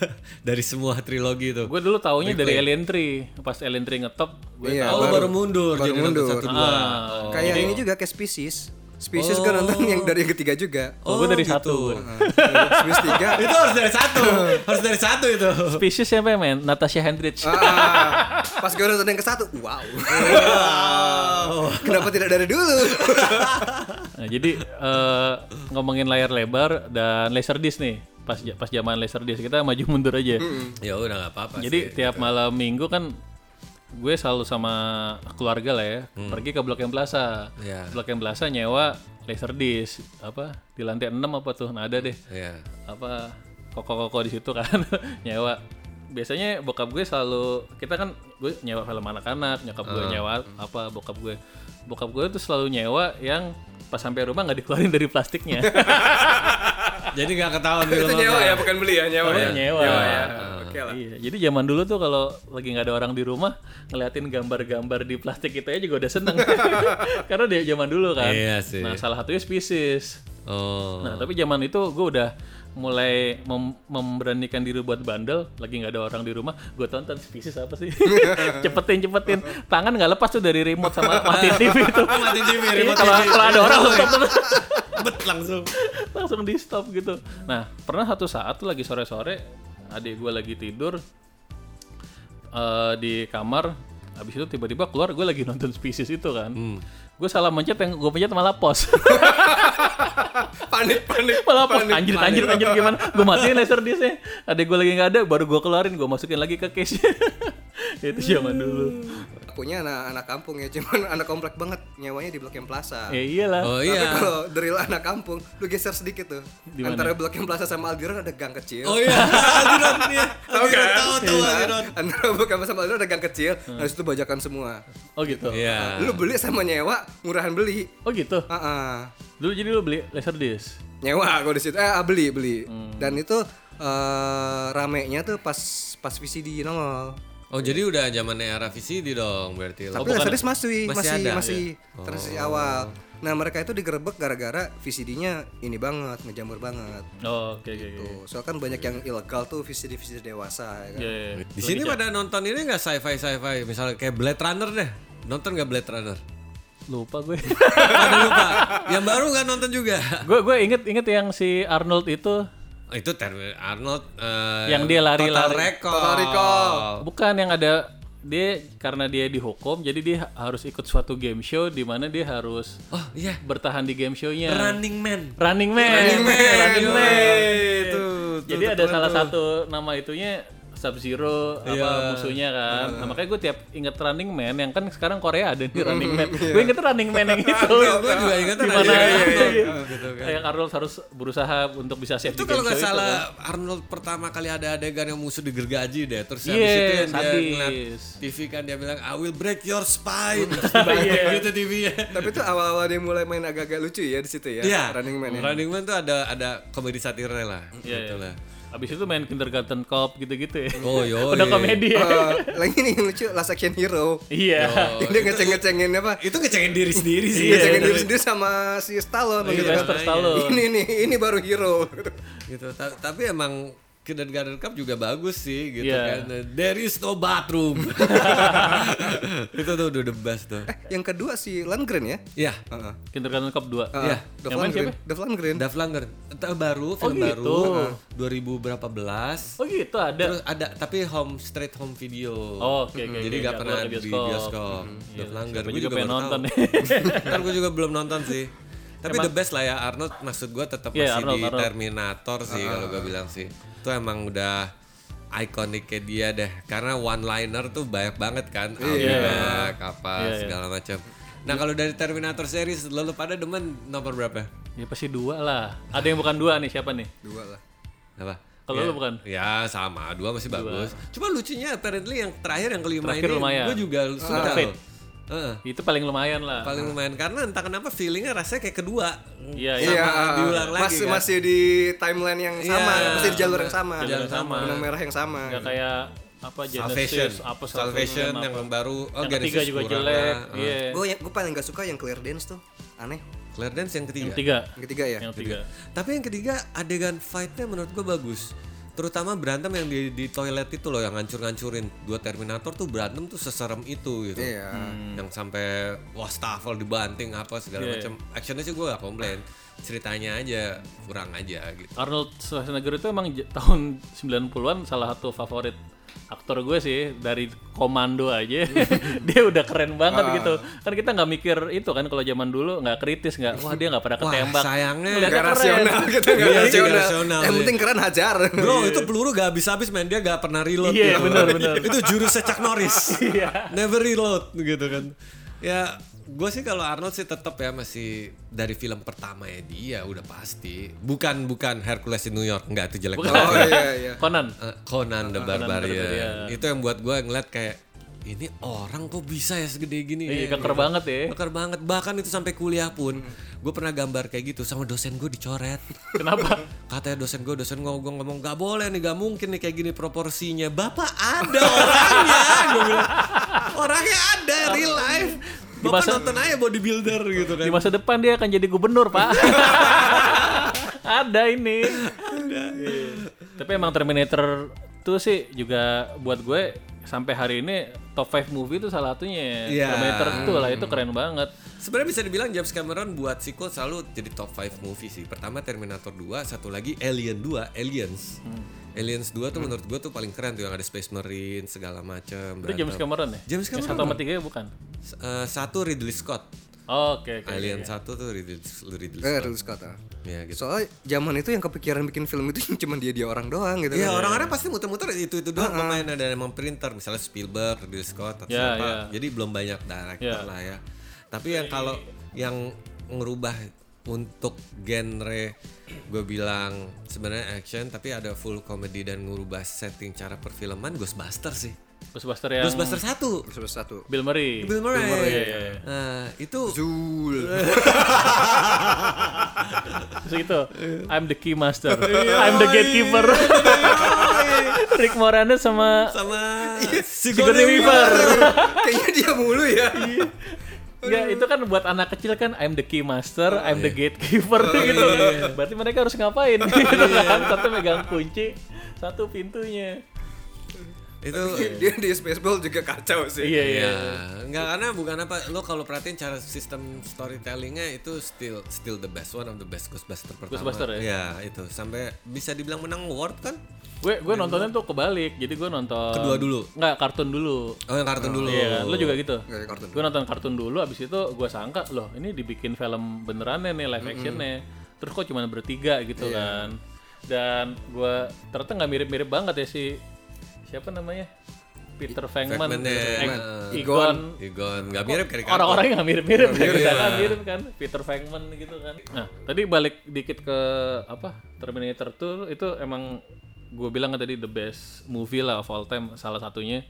C: Dari semua trilogi tuh.
A: Gue dulu taunya dari Alien 3. Pas Alien 3 ngetop, gue
B: Iya,
C: oh, lo baru mundur
B: baru
C: jadi
B: mundur. Ah.
C: satu dua. Eh,
B: kayak ini juga kayak spesies spesies
C: Oh.
B: gue nonton yang dari yang ketiga juga
A: Oh, gue dari satu.
B: gitu. spesies tiga
C: itu harus dari satu. harus dari satu itu.
A: Species siapa yang main? Natasha Hendrich.
B: Ah, pas gue nonton yang ke satu wow kenapa tidak dari dulu
A: Nah, jadi eh, ngomongin layar lebar dan laser disc nih. Pas pas zaman laser disc kita maju mundur aja.
C: Ya udah nggak apa-apa.
A: Jadi
C: sih.
A: tiap malam minggu kan gue selalu sama keluarga lah ya pergi ke Blok M Plaza.
C: Iya.
A: Blok M Plaza nyewa laser disc apa di lantai 6 apa tuh? Nah, ada deh
C: Iya.
A: apa koko-koko di situ kan nyewa. Biasanya bokap gue selalu kita kan gue nyewa film anak-anak, nyokap gue nyewa apa bokap gue. Bokap gue tuh selalu nyewa yang pas sampai rumah nggak dikeluarin dari plastiknya.
C: Jadi nggak ketahuan
B: itu
C: film apa.
B: nyewa ya bukan beli ya nyewa
A: Oh,
B: ya
A: nyewa.
B: ya oke lah
A: Iya, jadi zaman dulu tuh kalau lagi nggak ada orang di rumah ngeliatin gambar-gambar di plastik itu aja juga udah seneng karena dia zaman dulu kan.
C: Iya sih.
A: Nah salah satunya spesies.
C: Oh.
A: Nah tapi zaman itu gue udah mulai mem- memberanikan diri buat bandel lagi nggak ada orang di rumah gue tonton spesies apa sih cepetin cepetin tangan nggak lepas tuh dari remote sama matiin TV itu
C: Mati TV,
A: Iya,
C: remote
A: kalau
C: TV.
A: kalau ada orang stop terus
C: Bet langsung.
A: langsung di stop gitu. Nah pernah satu saat tuh lagi sore-sore adik gue lagi tidur eh, di kamar, habis itu tiba-tiba keluar gue lagi nonton spesies itu kan.
C: Hmm.
A: Gue salah mencet yang gue pencet malah pos,
B: panik panik
A: malah pos anjir anjir anjir gimana? Gue matiin laser discnya. Adik gue lagi nggak ada, baru gue keluarin, gue masukin lagi ke case. itu zaman dulu.
B: punya anak-anak kampung ya cuman anak komplek banget nyewanya di blok M Plaza
A: Ya iyalah.
C: Oh
B: Tapi
C: iya.
B: kalau drill anak kampung, lu geser sedikit tuh. Antara Blok M Plaza sama Aldiron ada gang kecil.
C: Oh iya. Aldiron iya. Aldiron tahu tahu
B: Nah,
C: Aldiron. Hmm.
B: Antara Blok M Plaza sama Aldiron ada gang kecil. Nah, itu bajakan semua.
A: Oh gitu.
C: Iya.
B: Lu beli sama nyewa, murahan beli.
A: Oh gitu.
B: Ah, ah.
A: Dulu jadi lu beli laser disc.
B: Nyewa gua di situ. Eh, ah, beli, beli. Dan itu eh, ramenya tuh pas pas VCD nongol.
C: Oh jadi udah zamannya era VCD dong berarti. lo.
B: Tapi Laserdisc masih
C: Oh, Masih
B: masih
C: ada,
B: masih, terus di awal. Nah mereka itu digerebek gara-gara VCD-nya ini banget, ngejamur banget.
A: Oh, oke oke oke.
B: Tuh, soalnya kan banyak yang ilegal tuh VCD-VCD dewasa. Ya kan?
A: Iya, iya, iya.
C: Di sini pada nonton ini nggak sci-fi sci-fi, misalnya kayak Blade Runner deh. Nonton nggak Blade Runner?
A: Lupa gue.
C: Ada lupa. Yang baru nggak nonton juga.
A: gue gue inget inget yang si Arnold itu
C: Itu Terminator Arnold. eh,
A: Yang dia lari-lari.
C: Total Recall.
B: Total Recall.
A: bukan yang ada dia karena dia dihukum jadi dia harus ikut suatu game show di mana dia harus
C: Oh iya.
A: bertahan di game show-nya.
C: Running Man.
A: Running Man.
C: Running Man.
A: Running Man.
B: Eh,
C: Yoi, tuh, tuh,
A: Jadi
C: tuh,
A: ada
C: keren
A: salah
C: tuh. Iya.
A: satu nama itunya Sub Zero apa musuhnya kan. Nah, makanya gue tiap inget Running Man yang kan sekarang Korea ada nih Running Man. Gue inget Running Man yang itu. ya?
C: Gue Iya. juga ingat
A: Di mana
C: Running Man. Iya, gitu
A: yang Arnold harus berusaha untuk bisa save
C: kan. Itu
A: di
C: kalau
A: game
C: nggak
A: show itu kan.
C: salah Arnold pertama kali ada adegan yang musuh digergaji deh terus
A: Iya,
C: habis itu yang dia
A: sadis.
C: ngeliat TV kan dia bilang I will break your spine
A: Mm,
C: terus dibalik gitu TV-nya.
B: Tapi itu awal-awal dia mulai main agak-agak lucu ya di situ ya,
C: Iya.
B: Running Man. Ya.
C: Running Man tuh ada ada komedi satirnya lah.
A: Iya,
C: gitu
A: iya.
C: lah.
A: Abis itu main Kindergarten Cop gitu-gitu ya.
C: Oh, yoi. Oh.
A: Udah komedi ya.
B: Eh, lagi nih yang lucu Last Action Hero.
A: Iya.
B: Yang dia ngeceng-ngecengin apa?
C: Itu ngecengin diri sendiri sih.
B: Ngecengin
A: iya.
B: diri sendiri sama si Stallone
C: Iya,
B: gitu kan.
A: Sylvester Stallone.
B: Ini nih, ini baru hero.
C: gitu. Ta- tapi emang Kindergarten Cup juga bagus sih gitu
A: Iya.
C: kan. There is no bathroom. itu tuh udah the best tuh.
B: Eh, yang kedua si Landgren ya?
C: Ya,
B: Heeh.
A: Kindergarten Cop 2.
B: Heeh,
C: Iya.
A: Yang
B: Dolph
A: main
B: Lundgren. Dolph Lundgren.
C: Dolph Lundgren Entah baru, film
A: gitu.
C: baru, 2000 berapa belas.
A: Oh gitu ada.
C: Terus ada tapi home straight home video.
A: Oh, oke, oke,
C: Jadi
A: oke,
C: nggak
A: nggak
C: pernah
A: keluar
C: di
A: ke
C: bioskop.
A: bioskop.
C: Dolph Lundgren.
A: Gue
C: Gua
A: juga pengen
C: baru
A: nonton.
C: tahu. Ntar gue juga belum nonton sih. Tapi the best lah ya Arnold maksud gue tetap
A: Iya,
C: masih
A: Arnold,
C: di
A: Arnold.
C: Terminator sih kalau gue bilang sih. Itu emang udah ikoniknya dia deh karena one liner tuh banyak banget kan Almanac apa
A: Iya, iya.
C: segala macam. Nah kalau dari Terminator series lalu pada demen nomor berapa?
A: ya pasti dua lah. Ada yang bukan dua nih siapa nih?
B: Dua lah.
C: Apa?
A: Kalau
C: Ya,
A: lu bukan?
C: Ya sama, dua masih bagus. Cuma lucunya apparently yang terakhir yang kelima
A: Terakhir
C: ini
A: lumayan. Ah,
C: gue juga suka
A: Fate.
C: loh. Heeh.
A: Itu paling lumayan lah.
C: paling lumayan karena entah kenapa feelingnya rasanya kayak kedua.
A: Ah. Iya, iya.
B: Iya,
C: diulang lagi
B: masih
C: kan?
B: masih di timeline yang sama,
C: Iya.
B: masih di jalur yang sama,
A: Jalur yang sama.
B: benang merah yang sama.
A: Nggak kayak apa
C: Salvation,
A: Genesis, apa
C: Salvation yang
A: apa.
C: baru, oh
A: yang
C: Genesis
A: ketiga juga
C: kurang ya. Ah.
A: jelek.
C: lah.
A: Iya.
B: Gue gue paling gak suka yang clear dance tuh, aneh.
C: Claire Dance yang ketiga.
A: Yang tiga.
B: Yang ketiga ya.
A: Yang tiga.
C: Tapi yang ketiga adegan fightnya menurut gue bagus. Terutama berantem yang di, di toilet itu loh yang ngancur-ngancurin dua Terminator tuh berantem tuh seserem itu gitu.
B: Iya.
C: Yang sampai wastafel dibanting apa
A: Hmm.
C: segala
A: Iya,
C: macam. Actionnya sih gue gak komplain. Ceritanya aja kurang aja gitu.
A: Arnold Schwarzenegger itu emang j- tahun 90-an salah satu favorit aktor gue sih dari komando aja dia udah keren banget gitu
C: Ah.
A: kan kita nggak mikir itu kan kalau zaman dulu nggak kritis nggak wah dia nggak pernah
C: Wah,
A: ketembak
C: sayangnya
A: Ngeliatnya
B: Gak
A: keren.
B: rasional gitu, gak
C: Iya,
B: rasional.
C: gak rasional,
B: Yang
C: iya.
B: penting keren hajar.
C: Bro, itu peluru gak habis-habis men dia gak pernah reload.
A: Iya,
C: gitu.
A: benar, benar. Iya.
C: itu jurusnya Chuck Norris. Never reload gitu kan. Ya, gue sih kalau Arnold sih tetap ya masih dari film pertama ya dia udah pasti. Bukan bukan Hercules in New York, nggak itu jelek banget.
B: Oh iya iya.
A: Conan
C: Eh, Conan the Barbarian.
A: Barbarian.
C: Itu yang buat gue ngeliat kayak ini orang kok bisa ya segede gini
A: iya
C: ya?"
A: keker banget ya
C: Keker banget bahkan itu sampai kuliah pun
A: Hmm.
C: gue pernah gambar kayak gitu sama dosen gue dicoret
A: kenapa
C: katanya dosen gue dosen gue gue ngomong gak boleh nih gak mungkin nih kayak gini proporsinya bapak ada orangnya Gua bilang, orangnya ada real life bapak
A: masa-
C: nonton aja bodybuilder gitu kan
A: Di masa depan dia akan jadi gubernur, Pak. Ada ini. Iya. Tapi emang Terminator tuh sih juga buat gue sampai hari ini top 5 movie itu salah satunya. ya.
C: Iya.
A: Terminator tuh lah itu keren banget.
C: sebenarnya bisa dibilang James Cameron buat sequel selalu jadi top 5 movie sih pertama Terminator 2 satu lagi Alien 2 Aliens
A: Hmm.
C: Aliens 2 tuh menurut gue tuh paling keren tuh yang ada Space Marine segala macam
A: Itu James Cameron ya?
C: James
A: Yang
C: Cameron.
A: satu sama tiga bukan?
C: eh, satu Ridley
A: Iya,
C: Scott
A: Oke, oke.
C: Alien 1 tuh Ridley, Ridley
B: Eh,
C: Scott
B: Ridley Scott. ah.
C: ya gitu
B: Soalnya zaman itu yang kepikiran bikin film itu cuma dia dia orang doang gitu.
C: Iya
B: kan.
C: orang-orang pasti muter-muter itu itu doang pemain ada emang printer misalnya Spielberg, Ridley Scott atau
A: Ya,
C: siapa.
A: ya.
C: Jadi belum banyak director
A: Ya.
C: lah ya. Tapi yang kalau yang ngerubah untuk genre gue bilang sebenarnya action tapi ada full comedy dan ngerubah setting cara perfilman Ghostbuster sih.
A: Ghostbuster yang
C: Ghostbuster 1
B: Terus satu.
A: Bill Murray.
C: Bill Murray.
A: iya, iya.
C: Nah, itu
B: Zul.
A: Terus gitu.
C: Iya.
A: I'm the key master. I'm the gatekeeper. Rick Moranis sama
C: iya. sama
A: Sigourney Weaver.
B: Kayaknya dia mulu Iya, ya.
A: Dia Enggak, itu kan buat anak kecil kan I'm the keymaster, I'm the gatekeeper gitu. Berarti mereka harus ngapain gitu kan? Satu megang kunci, satu pintunya.
C: itu
B: Dia di Spaceball juga kacau sih.
A: Iya, iya.
C: ya nggak karena bukan apa lo kalau perhatiin cara sistem storytellingnya itu still still the best one of the best Ghostbuster pertama Iya,
A: Ghostbuster, ya?
C: itu sampai bisa dibilang menang award kan
A: Gue gue nontonnya tuh kebalik. Jadi gue nonton
C: Kedua dulu?
A: Enggak, kartun dulu.
C: oh yang kartun dulu
A: Iya, lu juga gitu.
B: Nggak ada kartun.
A: Gue nonton kartun dulu, abis itu gue sangka loh ini dibikin film benerannya nih live actionnya. Terus kok cuma bertiga gitu kan. Dan gue ternyata nggak mirip-mirip banget ya si siapa namanya Peter Venkman,
C: Venkman-nya.
A: Eg-
C: Egon.
A: Igon.
C: Igon nggak
A: Oh,
C: mirip karikatur
A: Orang-orangnya nggak mirip-mirip, kita nggak mirip kan, Peter Venkman gitu kan. Nah, tadi balik dikit ke apa Terminator tuh itu emang gue bilang kan tadi the best movie lah of all time salah satunya.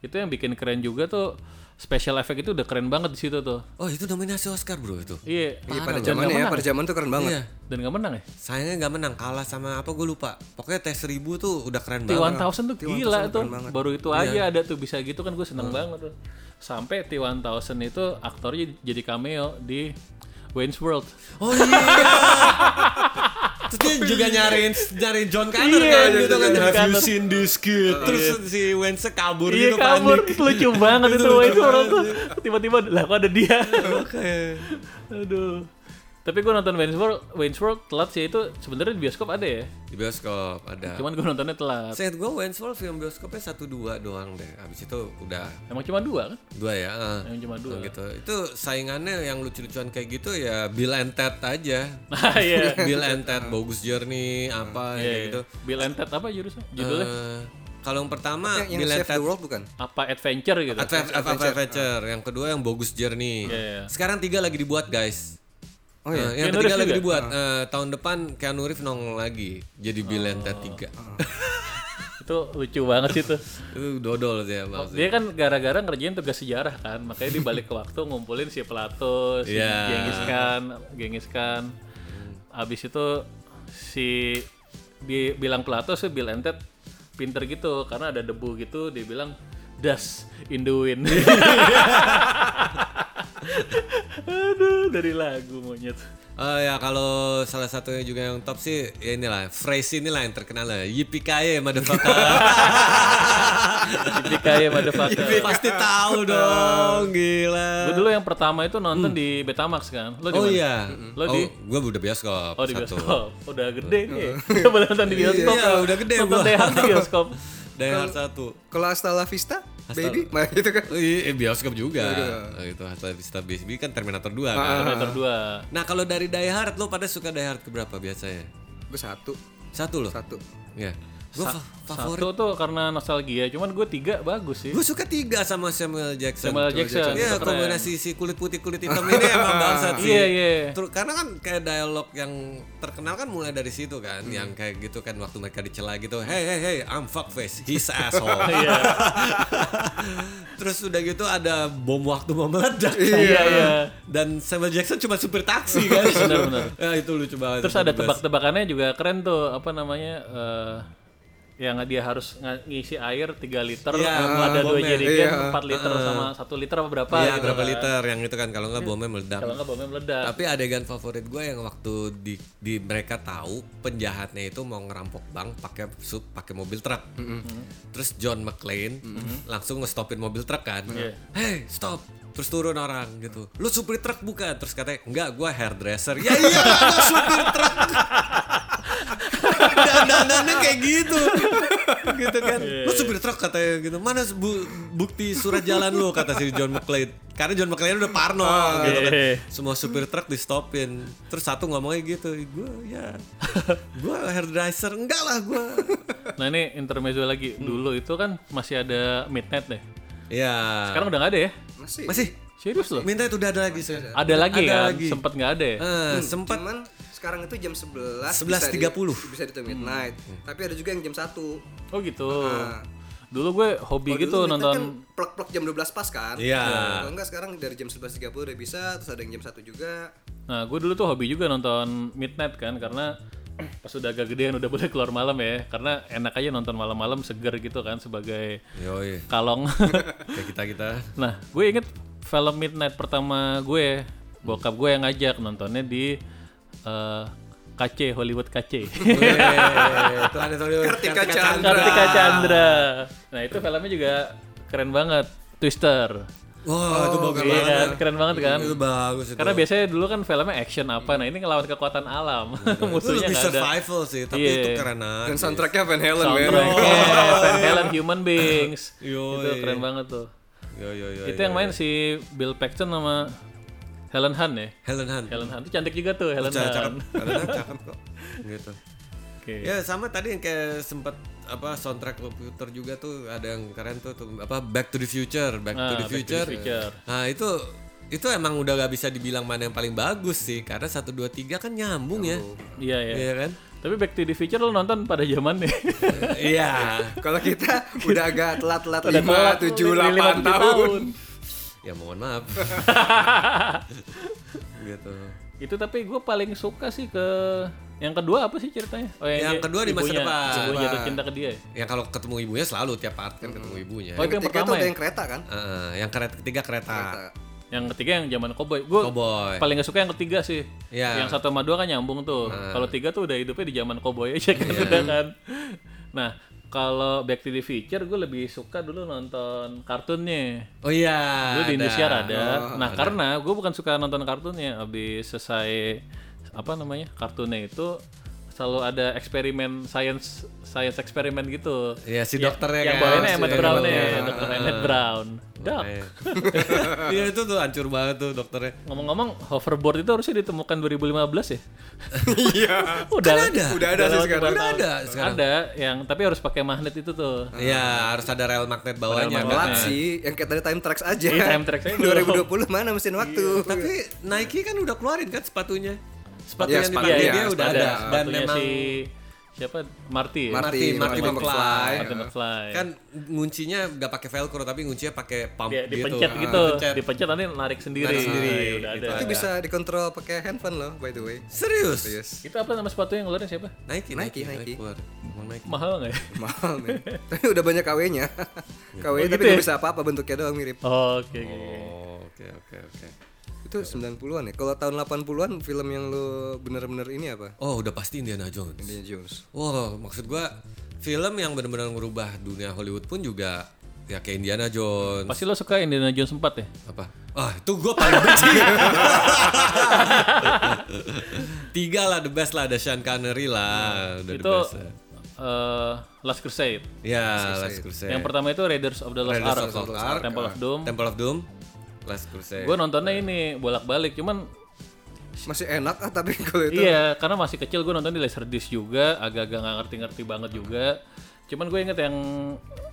A: Itu yang bikin keren juga tuh special effect itu udah keren banget di situ tuh.
C: oh itu nominasi Oscar bro itu
A: Iya,
B: Iya, pada
A: parah. Dan nggak
B: zamannya ya,
A: menang
B: pada zaman tuh keren banget.
C: iya
A: Dan nggak menang ya?
C: sayangnya nggak menang kalah sama apa gue lupa pokoknya tes 1000 tuh udah keren banget
A: T1000 tuh gila tuh. Baru itu aja ada tuh bisa gitu kan gue seneng banget tuh. Sampai T1000 itu aktornya jadi cameo di Wayne's World.
C: oh iya terus dia juga nyariin nyariin John Connor
A: Iya,
C: kan
A: iya, iya,
C: gitu kan
A: John
C: have you
A: Connor.
C: seen this kid terus si Wentz kabur
A: Iya
C: gitu
A: kabur,
C: panik
A: lucu banget itu itu orang tuh tiba-tiba lah kok ada dia. Aduh. Tapi gue nonton Wayne's World, Wayne's World telat sih itu sebenarnya di bioskop ada ya.
C: di bioskop ada
A: Cuman gue nontonnya telat.
C: Set gue Wayne's World film bioskopnya satu dua doang deh. Abis itu udah
A: Emang cuma dua kan?
C: dua ya. eh.
A: Emang cuma dua.
C: Gitu. Itu saingannya yang lucu-lucuan kayak gitu ya Bill and Ted aja.
A: Nah, iya.
C: Bill and Ted, Bogus Journey, apa kayak gitu.
A: Iya. Bill and Ted apa jurusnya? Judulnya
C: Eh, kalau yang pertama
B: Yang, yang
C: Bill and
B: Save
C: Ted
B: the World bukan?
A: apa Adventure gitu.
C: Adventure, Adventure. Yang kedua yang Bogus Journey.
A: Iya, iya.
C: Sekarang tiga lagi dibuat guys.
B: Oh iya. Ah.
C: Eh, yang
A: Keanu
C: ketiga
A: Reeves
C: lagi
A: juga?
C: dibuat Eh, tahun depan Keanu Reeves nongol lagi jadi Bill and
B: Oh.
C: Ted tiga.
B: Ah.
A: Itu lucu banget sih tuh.
C: Itu dodol sih ya maksudnya.
A: Dia kan gara-gara ngerjain tugas sejarah kan, makanya dia balik ke waktu ngumpulin si Plato, si
C: Iya.
A: Genghis Khan, Genghis Khan. Abis itu si dia bilang Plato sih Bill and Ted pinter gitu karena ada debu gitu dia bilang dust in the wind. Aduh, dari lagu monyet.
C: Oh ya kalau salah satunya juga yang top sih ya inilah phrase inilah yang terkenal lah yippee motherfucker
A: Jadi kayak ya, motherfucker.
C: pasti tahu dong gila
A: Gue dulu yang pertama itu nonton di Betamax kan. Lo di
C: oh
A: mana?
C: iya
A: Lo
C: oh,
A: di
C: gue udah bioskop
A: Oh di
C: satu
A: bioskop, udah gede nih. Udah nonton di bioskop.
C: Iya, udah gede
A: Nonton
C: gua.
A: Die Hard di bioskop.
C: Die Hard satu
B: Kalau Hasta La Vista,
C: Hasta-
B: baby, mah gitu kan.
C: Iya, eh, bioskop juga
A: iya.
C: Oh, itu Hasta Vista Baby kan Terminator
A: Ah,
C: 2 kan
A: Terminator 2.
C: nah kalau dari Die Hard lo pada suka Die Hard keberapa biasanya
B: Gue satu,
C: satu lo
B: satu.
C: ya gue favorit
A: Satu tuh karena nostalgia, cuman gue tiga bagus sih.
C: gue suka tiga sama Samuel Jackson
A: Samuel Jackson. itu
C: Iya
A: keren.
C: kombinasi si kulit putih kulit hitam ini emang bangsat sih.
A: Iya, iya.
C: Terus karena kan kayak dialog yang terkenal kan mulai dari situ kan,
A: Hmm.
C: yang kayak gitu kan waktu mereka dicela gitu, hey hey hey, I'm fuckface, he's asshole.
A: Iya,
C: Terus udah gitu ada bom waktu mau meledak.
A: iya, iya.
C: Dan Samuel Jackson cuma supir taksi kan.
A: Benar, benar.
C: Ya, itu lucu banget. Iya,
A: Terus ada tebak-tebakannya juga keren tuh, apa namanya? eh, yang dia harus ng- ngisi air 3 liter, eh,
C: Iya,
A: ada dua
C: bomnya. ah,
A: jerigen,
B: Iya.
A: 4 liter sama 1 liter apa berapa
C: Iya,
A: gitu
C: berapa
A: kan.
C: liter yang itu kan
A: Ya.
C: kalau nggak bomnya meledak.
A: Kalau nggak bomnya meledak.
C: Tapi adegan favorit gue yang waktu di, di mereka tahu penjahatnya itu mau ngerampok bank pakai sup pakai mobil truk. Terus John McClane langsung ngestopin mobil truk kan.
A: Iya.
C: Hey, stop. Terus turun orang gitu. Lu supir truk bukan? Terus katanya, "Enggak, gue hairdresser." ya iya, gua supir truk. Dandanannya kayak gitu. gitu kan.
A: Iya,
C: Lu supir truk katanya gitu. Mana bu- bukti surat jalan lu kata si John McClane. Karena John McClane udah parno gitu kan
A: Iya.
C: semua supir truk di stopin terus satu ngomongnya gitu gue ya gue hairdresser enggak lah gue
A: Nah ini intermezzo lagi.
C: Hmm.
A: Dulu itu kan masih ada midnight deh.
C: ya
A: Sekarang udah nggak ada ya?
B: Masih.
C: masih
A: Serius loh?
C: minta itu udah ada lagi sih
A: Ada lagi
C: Ada
A: kan?
C: lagi.
A: Sempet nggak ada ya?
C: Eh, sempat
B: Cuman sekarang itu jam 11 bisa di-
C: 11.30.
B: Bisa di midnight. Tapi ada juga yang jam 1.
A: Oh gitu. Dulu gue hobi
B: Kalau
A: gitu
B: dulu kita kan
A: nonton
B: plek-plek jam 12 pas kan.
C: Iya.
B: Kalau enggak sekarang dari jam 11.30 udah bisa, terus ada yang jam 1 juga.
A: Nah, gue dulu tuh hobi juga nonton Midnight kan karena pas udah agak gedean udah boleh keluar malam ya. Karena enak aja nonton malam-malam seger gitu kan sebagai
C: yoi
A: kalong.
C: kayak kita kita
A: nah, gue inget film Midnight pertama gue, bokap gue yang ngajak nontonnya di eh, KC Hollywood KC.
C: Iya, Itu ada tuh,
B: Kartika
C: Kartika
B: Chandra.
A: Kartika Chandra. Nah, itu filmnya juga keren banget, Twister.
C: Wah, itu bagus
A: Iya
C: Oh, banget.
A: kan? Keren banget kan?
C: Itu bagus itu.
A: Karena biasanya dulu kan filmnya action apa, nah ini ngelawan kekuatan alam.
C: itu
A: Musuhnya
C: lebih
A: nggak ada.
C: survival sih, tapi
A: Iya.
C: itu karena
B: Dan soundtracknya Van Halen men.
A: Soundtracknya Van Halen Human Beings.
C: Yoi.
A: Itu keren banget tuh.
C: Yo yo yo.
A: Itu yang main si Bill Paxton sama Helen Hunt ya.
C: Helen Hunt.
A: Helen Hunt itu cantik juga tuh Helen
C: Cakep, cakep.
A: Hunt.
C: Helen Hunt cakep kok. Gitu.
A: Oke.
C: Ya sama tadi yang kayak sempat apa soundtrack komputer juga tuh ada yang keren tuh, tuh, apa Back to the Future, Back to
A: Ah, Back
C: the
A: to the
C: Future.
A: Future.
C: Nah, itu itu emang udah gak bisa dibilang mana yang paling bagus sih karena 1 2 3 kan nyambung ya.
A: Iya ya.
C: Iya kan?
A: Tapi Back to the Future lo nonton pada zamannya.
C: Iya.
B: Ah, Kalau kita udah agak telat-telat
A: Udah telat,
B: 5, 7,
A: udah 7
B: 8 tahun.
C: ya mohon maaf. gitu.
A: Itu tapi gue paling suka sih ke yang kedua apa sih ceritanya? Oh,
C: Yang
A: dia-
C: kedua di masa
A: ibunya-
C: depan.
A: Ibunya jatuh cinta ke dia. ya?
C: Ya kalau ketemu ibunya selalu tiap part kan ketemu ibunya.
A: Oh, itu yang
B: Ketika itu
A: pertama ya?
B: ada
A: Ah,
B: yang kereta kan? Nah,
C: Eh, yang kereta ketiga kereta. Oh,
A: Yang ketiga yang zaman koboi. Gue
C: Cowboy.
A: paling gak suka yang ketiga sih.
C: Iya. Nah.
A: Yang satu sama dua kan nyambung tuh. Kalau tiga tuh udah hidupnya di zaman koboi aja kan.
C: Iya.
A: udah kan. Nah, kalau Back to the Future gue lebih suka dulu nonton kartunnya.
C: Oh iya.
A: Dulu di
C: ada. Oh,
A: Indosiar ada. nah, karena gue bukan suka nonton kartunnya. Habis selesai apa namanya? kartunnya itu selalu ada eksperimen science science eksperimen gitu.
C: Iya, si dokternya
A: yang
C: kan.
A: bawainnya
C: Si Ah.
A: Emmett
C: dokter
A: Brown ya,
C: dokternya.
A: dokter Emmett Brown. Dok,
C: Makanya. Iya itu tuh hancur banget tuh dokternya.
A: ngomong-ngomong hoverboard itu harusnya ditemukan 2015 ya?
B: Iya.
A: Udah,
C: Kan ada.
B: Udah ada sih
A: lewat
B: sekarang.
A: beberapa
C: Udah
A: tahun.
C: ada sekarang.
A: Ada yang tapi harus pakai magnet itu tuh.
C: Iya harus ada rel magnet bawahnya. kan.
B: Telat sih, yang kayak tadi time tracks aja.
A: ya, Iya, time tracks aja Iya, belum.
B: 2020 mana mesin waktu.
C: Tapi Nike kan udah keluarin kan sepatunya. Sepatu
B: Iya,
C: yang
B: sepatu,
C: dipakai
A: ya,
B: iya,
C: dia udah
B: sepatu.
C: ada. Dan
A: Sepatunya
C: memang
A: si siapa? Marty. ya?
B: Marty,
C: Marty, Marty
B: Marty
C: McFly.
B: McFly.
A: Marty McFly.
C: kan nguncinya gak pakai velcro tapi nguncinya pakai pump
A: Dia
C: gitu.
A: dipencet
C: Ah,
A: gitu,
C: dipencet.
A: dipencet nanti narik sendiri.
C: Narik sendiri,
A: Ah, ya udah
C: gitu.
A: ada.
B: Itu bisa dikontrol pakai handphone loh by the way.
C: Serius?
B: Serius.
A: Itu apa nama sepatu yang ngeluarin siapa?
C: Nike, Nike,
B: Nike,
C: Nike,
B: Nike.
C: keluar. Emang Nike.
A: Mahal nggak ya?
B: Mahal men. Tapi udah banyak KW-nya. KW tapi
A: gitu
B: nggak
A: ya?
B: bisa apa-apa bentuknya doang mirip.
A: Oh, Oke, oke.
C: Oh, Oke, oke, oke.
B: Itu 90-an ya. Kalau tahun 80-an film yang lu bener-bener ini apa?
C: Oh, udah pasti Indiana Jones.
B: Indiana Jones.
C: Wow, maksud gua film yang benar-benar ngerubah dunia Hollywood pun juga ya kayak Indiana Jones.
A: Pasti lo suka Indiana Jones 4 ya?
C: Apa? Ah, itu gua paling benci. Tiga lah the best lah ada Sean Connery lah, udah
A: itu
C: the best. lah.
A: eh, Last Crusade.
C: Ya, Last Crusade.
A: Yang pertama itu Raiders of the Lost
C: Raiders
A: Ark,
C: of the Lost Ark, Ah,
A: Temple of Doom.
C: Temple of Doom, Last Crusade.
A: Gue nontonnya ini bolak-balik, cuman
B: Masih enak ah tapi kalau itu
A: iya karena masih kecil gue nonton di Laserdisc juga, agak-agak nggak ngerti-ngerti banget juga. Cuman gue inget yang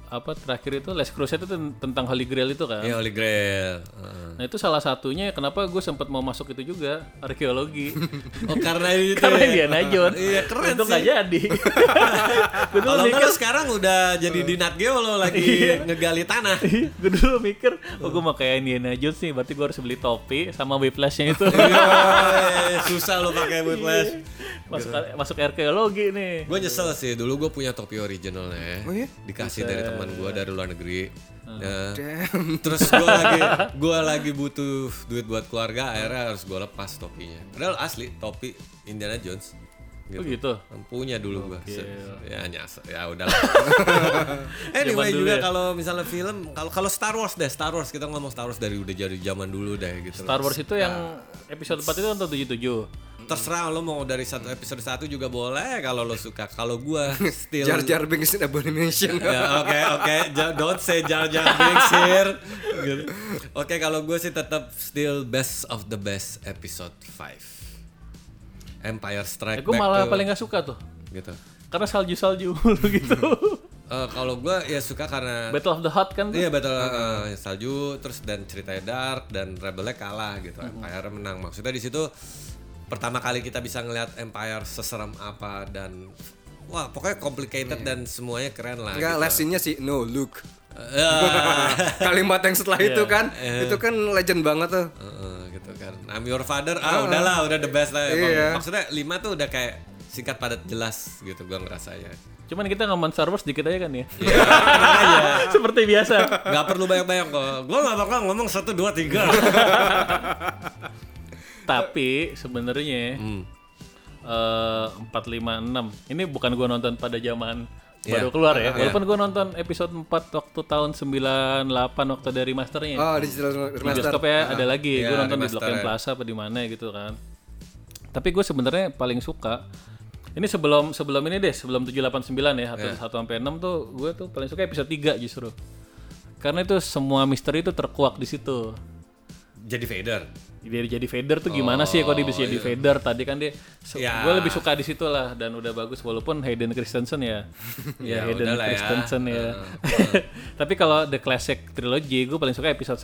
A: apa terakhir itu Last Crusade itu ten- tentang Holy Grail itu kan.
C: Ya Holy Grail. Ah. Heeh.
A: Nah itu salah satunya kenapa gue sempat mau masuk itu juga arkeologi.
C: Oh karena itu.
A: karena
C: ya.
A: Indiana Jones.
C: Iya, keren
A: Untung
C: sih.
A: nggak jadi. gue dulu
C: Kalau enggak
A: mikir,
C: lu sekarang udah jadi di Nat Geo lo
A: Iya.
C: lagi ngegali tanah.
A: gue dulu mikir, oh gue mau kayak Indiana Jones nih, berarti gue harus beli topi sama whiplash-nya itu.
C: Iya. Yoi, susah lo pakai
B: Iya.
C: whiplash.
A: masuk
C: Gitu.
A: masuk arkeologi nih.
C: Gue nyesel sih dulu gue punya topi originalnya
B: Oh iya?
C: dikasih dari teman gue dari luar negeri.
A: Ah.
C: Nah, terus gue lagi gua lagi butuh duit buat keluarga akhirnya harus gue lepas topinya. Padahal asli topi Indiana Jones.
A: Oh gitu.
C: Punya dulu gue. Ya nyasar. Ya udahlah. anyway
A: Zaman dulu
C: juga
A: ya.
C: kalau misalnya film kalau kalau Star Wars deh Star Wars kita ngomong Star Wars dari udah jadi zaman dulu deh gitu.
A: Star Wars itu yang episode 4 itu nonton 77.
C: Terserah lo mau dari satu episode satu juga boleh kalau lo suka. Kalau gua still
B: Jar Jar Binks in Abomination.
A: Iya,
C: Ya, Oke oke, Ja- don't say Jar Jar Binks here. Gitu. Oke kalau gue sih tetap still best of the best episode 5
A: Eh,
C: Empire Strike
A: gue
C: Back
A: malah
C: tuh,
A: paling gak suka tuh.
C: gitu.
A: Karena salju-salju mulu gitu.
C: Eh, kalau gue ya suka karena
A: Battle of the Hut kan tuh.
C: Iya betul eh, salju terus dan ceritanya dark dan rebelnya kalah gitu
A: Mm-hmm.
C: Empire menang maksudnya di situ pertama kali kita bisa ngelihat Empire seserem apa dan wah pokoknya
A: Iya.
C: complicated dan semuanya keren lah
B: Enggak
C: gitu.
B: lesinnya sih no look.
C: Eh,
B: Kalimat yang setelah itu
C: Iya.
B: kan itu kan legend banget tuh.
C: Heeh, gitu kan. I'm your father. Ah, udahlah, udah the best lah. ya, Emang-
B: Iya.
C: Maksudnya 5 tuh udah kayak singkat padat jelas gitu gua ngerasanya.
A: Cuman kita ngomong Star Wars dikit aja kan ya.
C: Iya.
A: Seperti biasa.
C: Gak perlu banyak-banyak kok. Gue gak bakal ngomong satu dua tiga.
A: Tapi sebenarnya
C: Hmm.
A: eh, 456 ini bukan gua nonton pada zaman
C: Iya.
A: baru keluar ya. Walaupun gua nonton episode 4 waktu tahun 98 waktu dari masternya.
B: Oh, digital
A: di
B: remaster.
A: bioskopnya ada lagi
C: Iya,
A: gue nonton di
C: remaster
A: Blok M
C: ya.
A: Plaza apa di mana gitu kan tapi gue sebenarnya paling suka ini sebelum sebelum ini deh sebelum 789 ya atau
C: Iya.
A: 1 sampai 6 tuh gue tuh paling suka episode 3 justru karena itu semua misteri itu terkuak di situ
C: Jadi Vader.
A: dia jadi Vader tuh gimana sih kok dia
C: Oh,
A: bisa jadi
C: iya.
A: Vader tadi kan dia
C: Ya.
A: gue lebih suka di situ lah dan udah bagus walaupun Hayden Christensen ya ya,
C: Ya,
A: Hayden
C: udahlah ya.
A: Christensen ya, tapi kalau The Classic Trilogy gue paling suka episode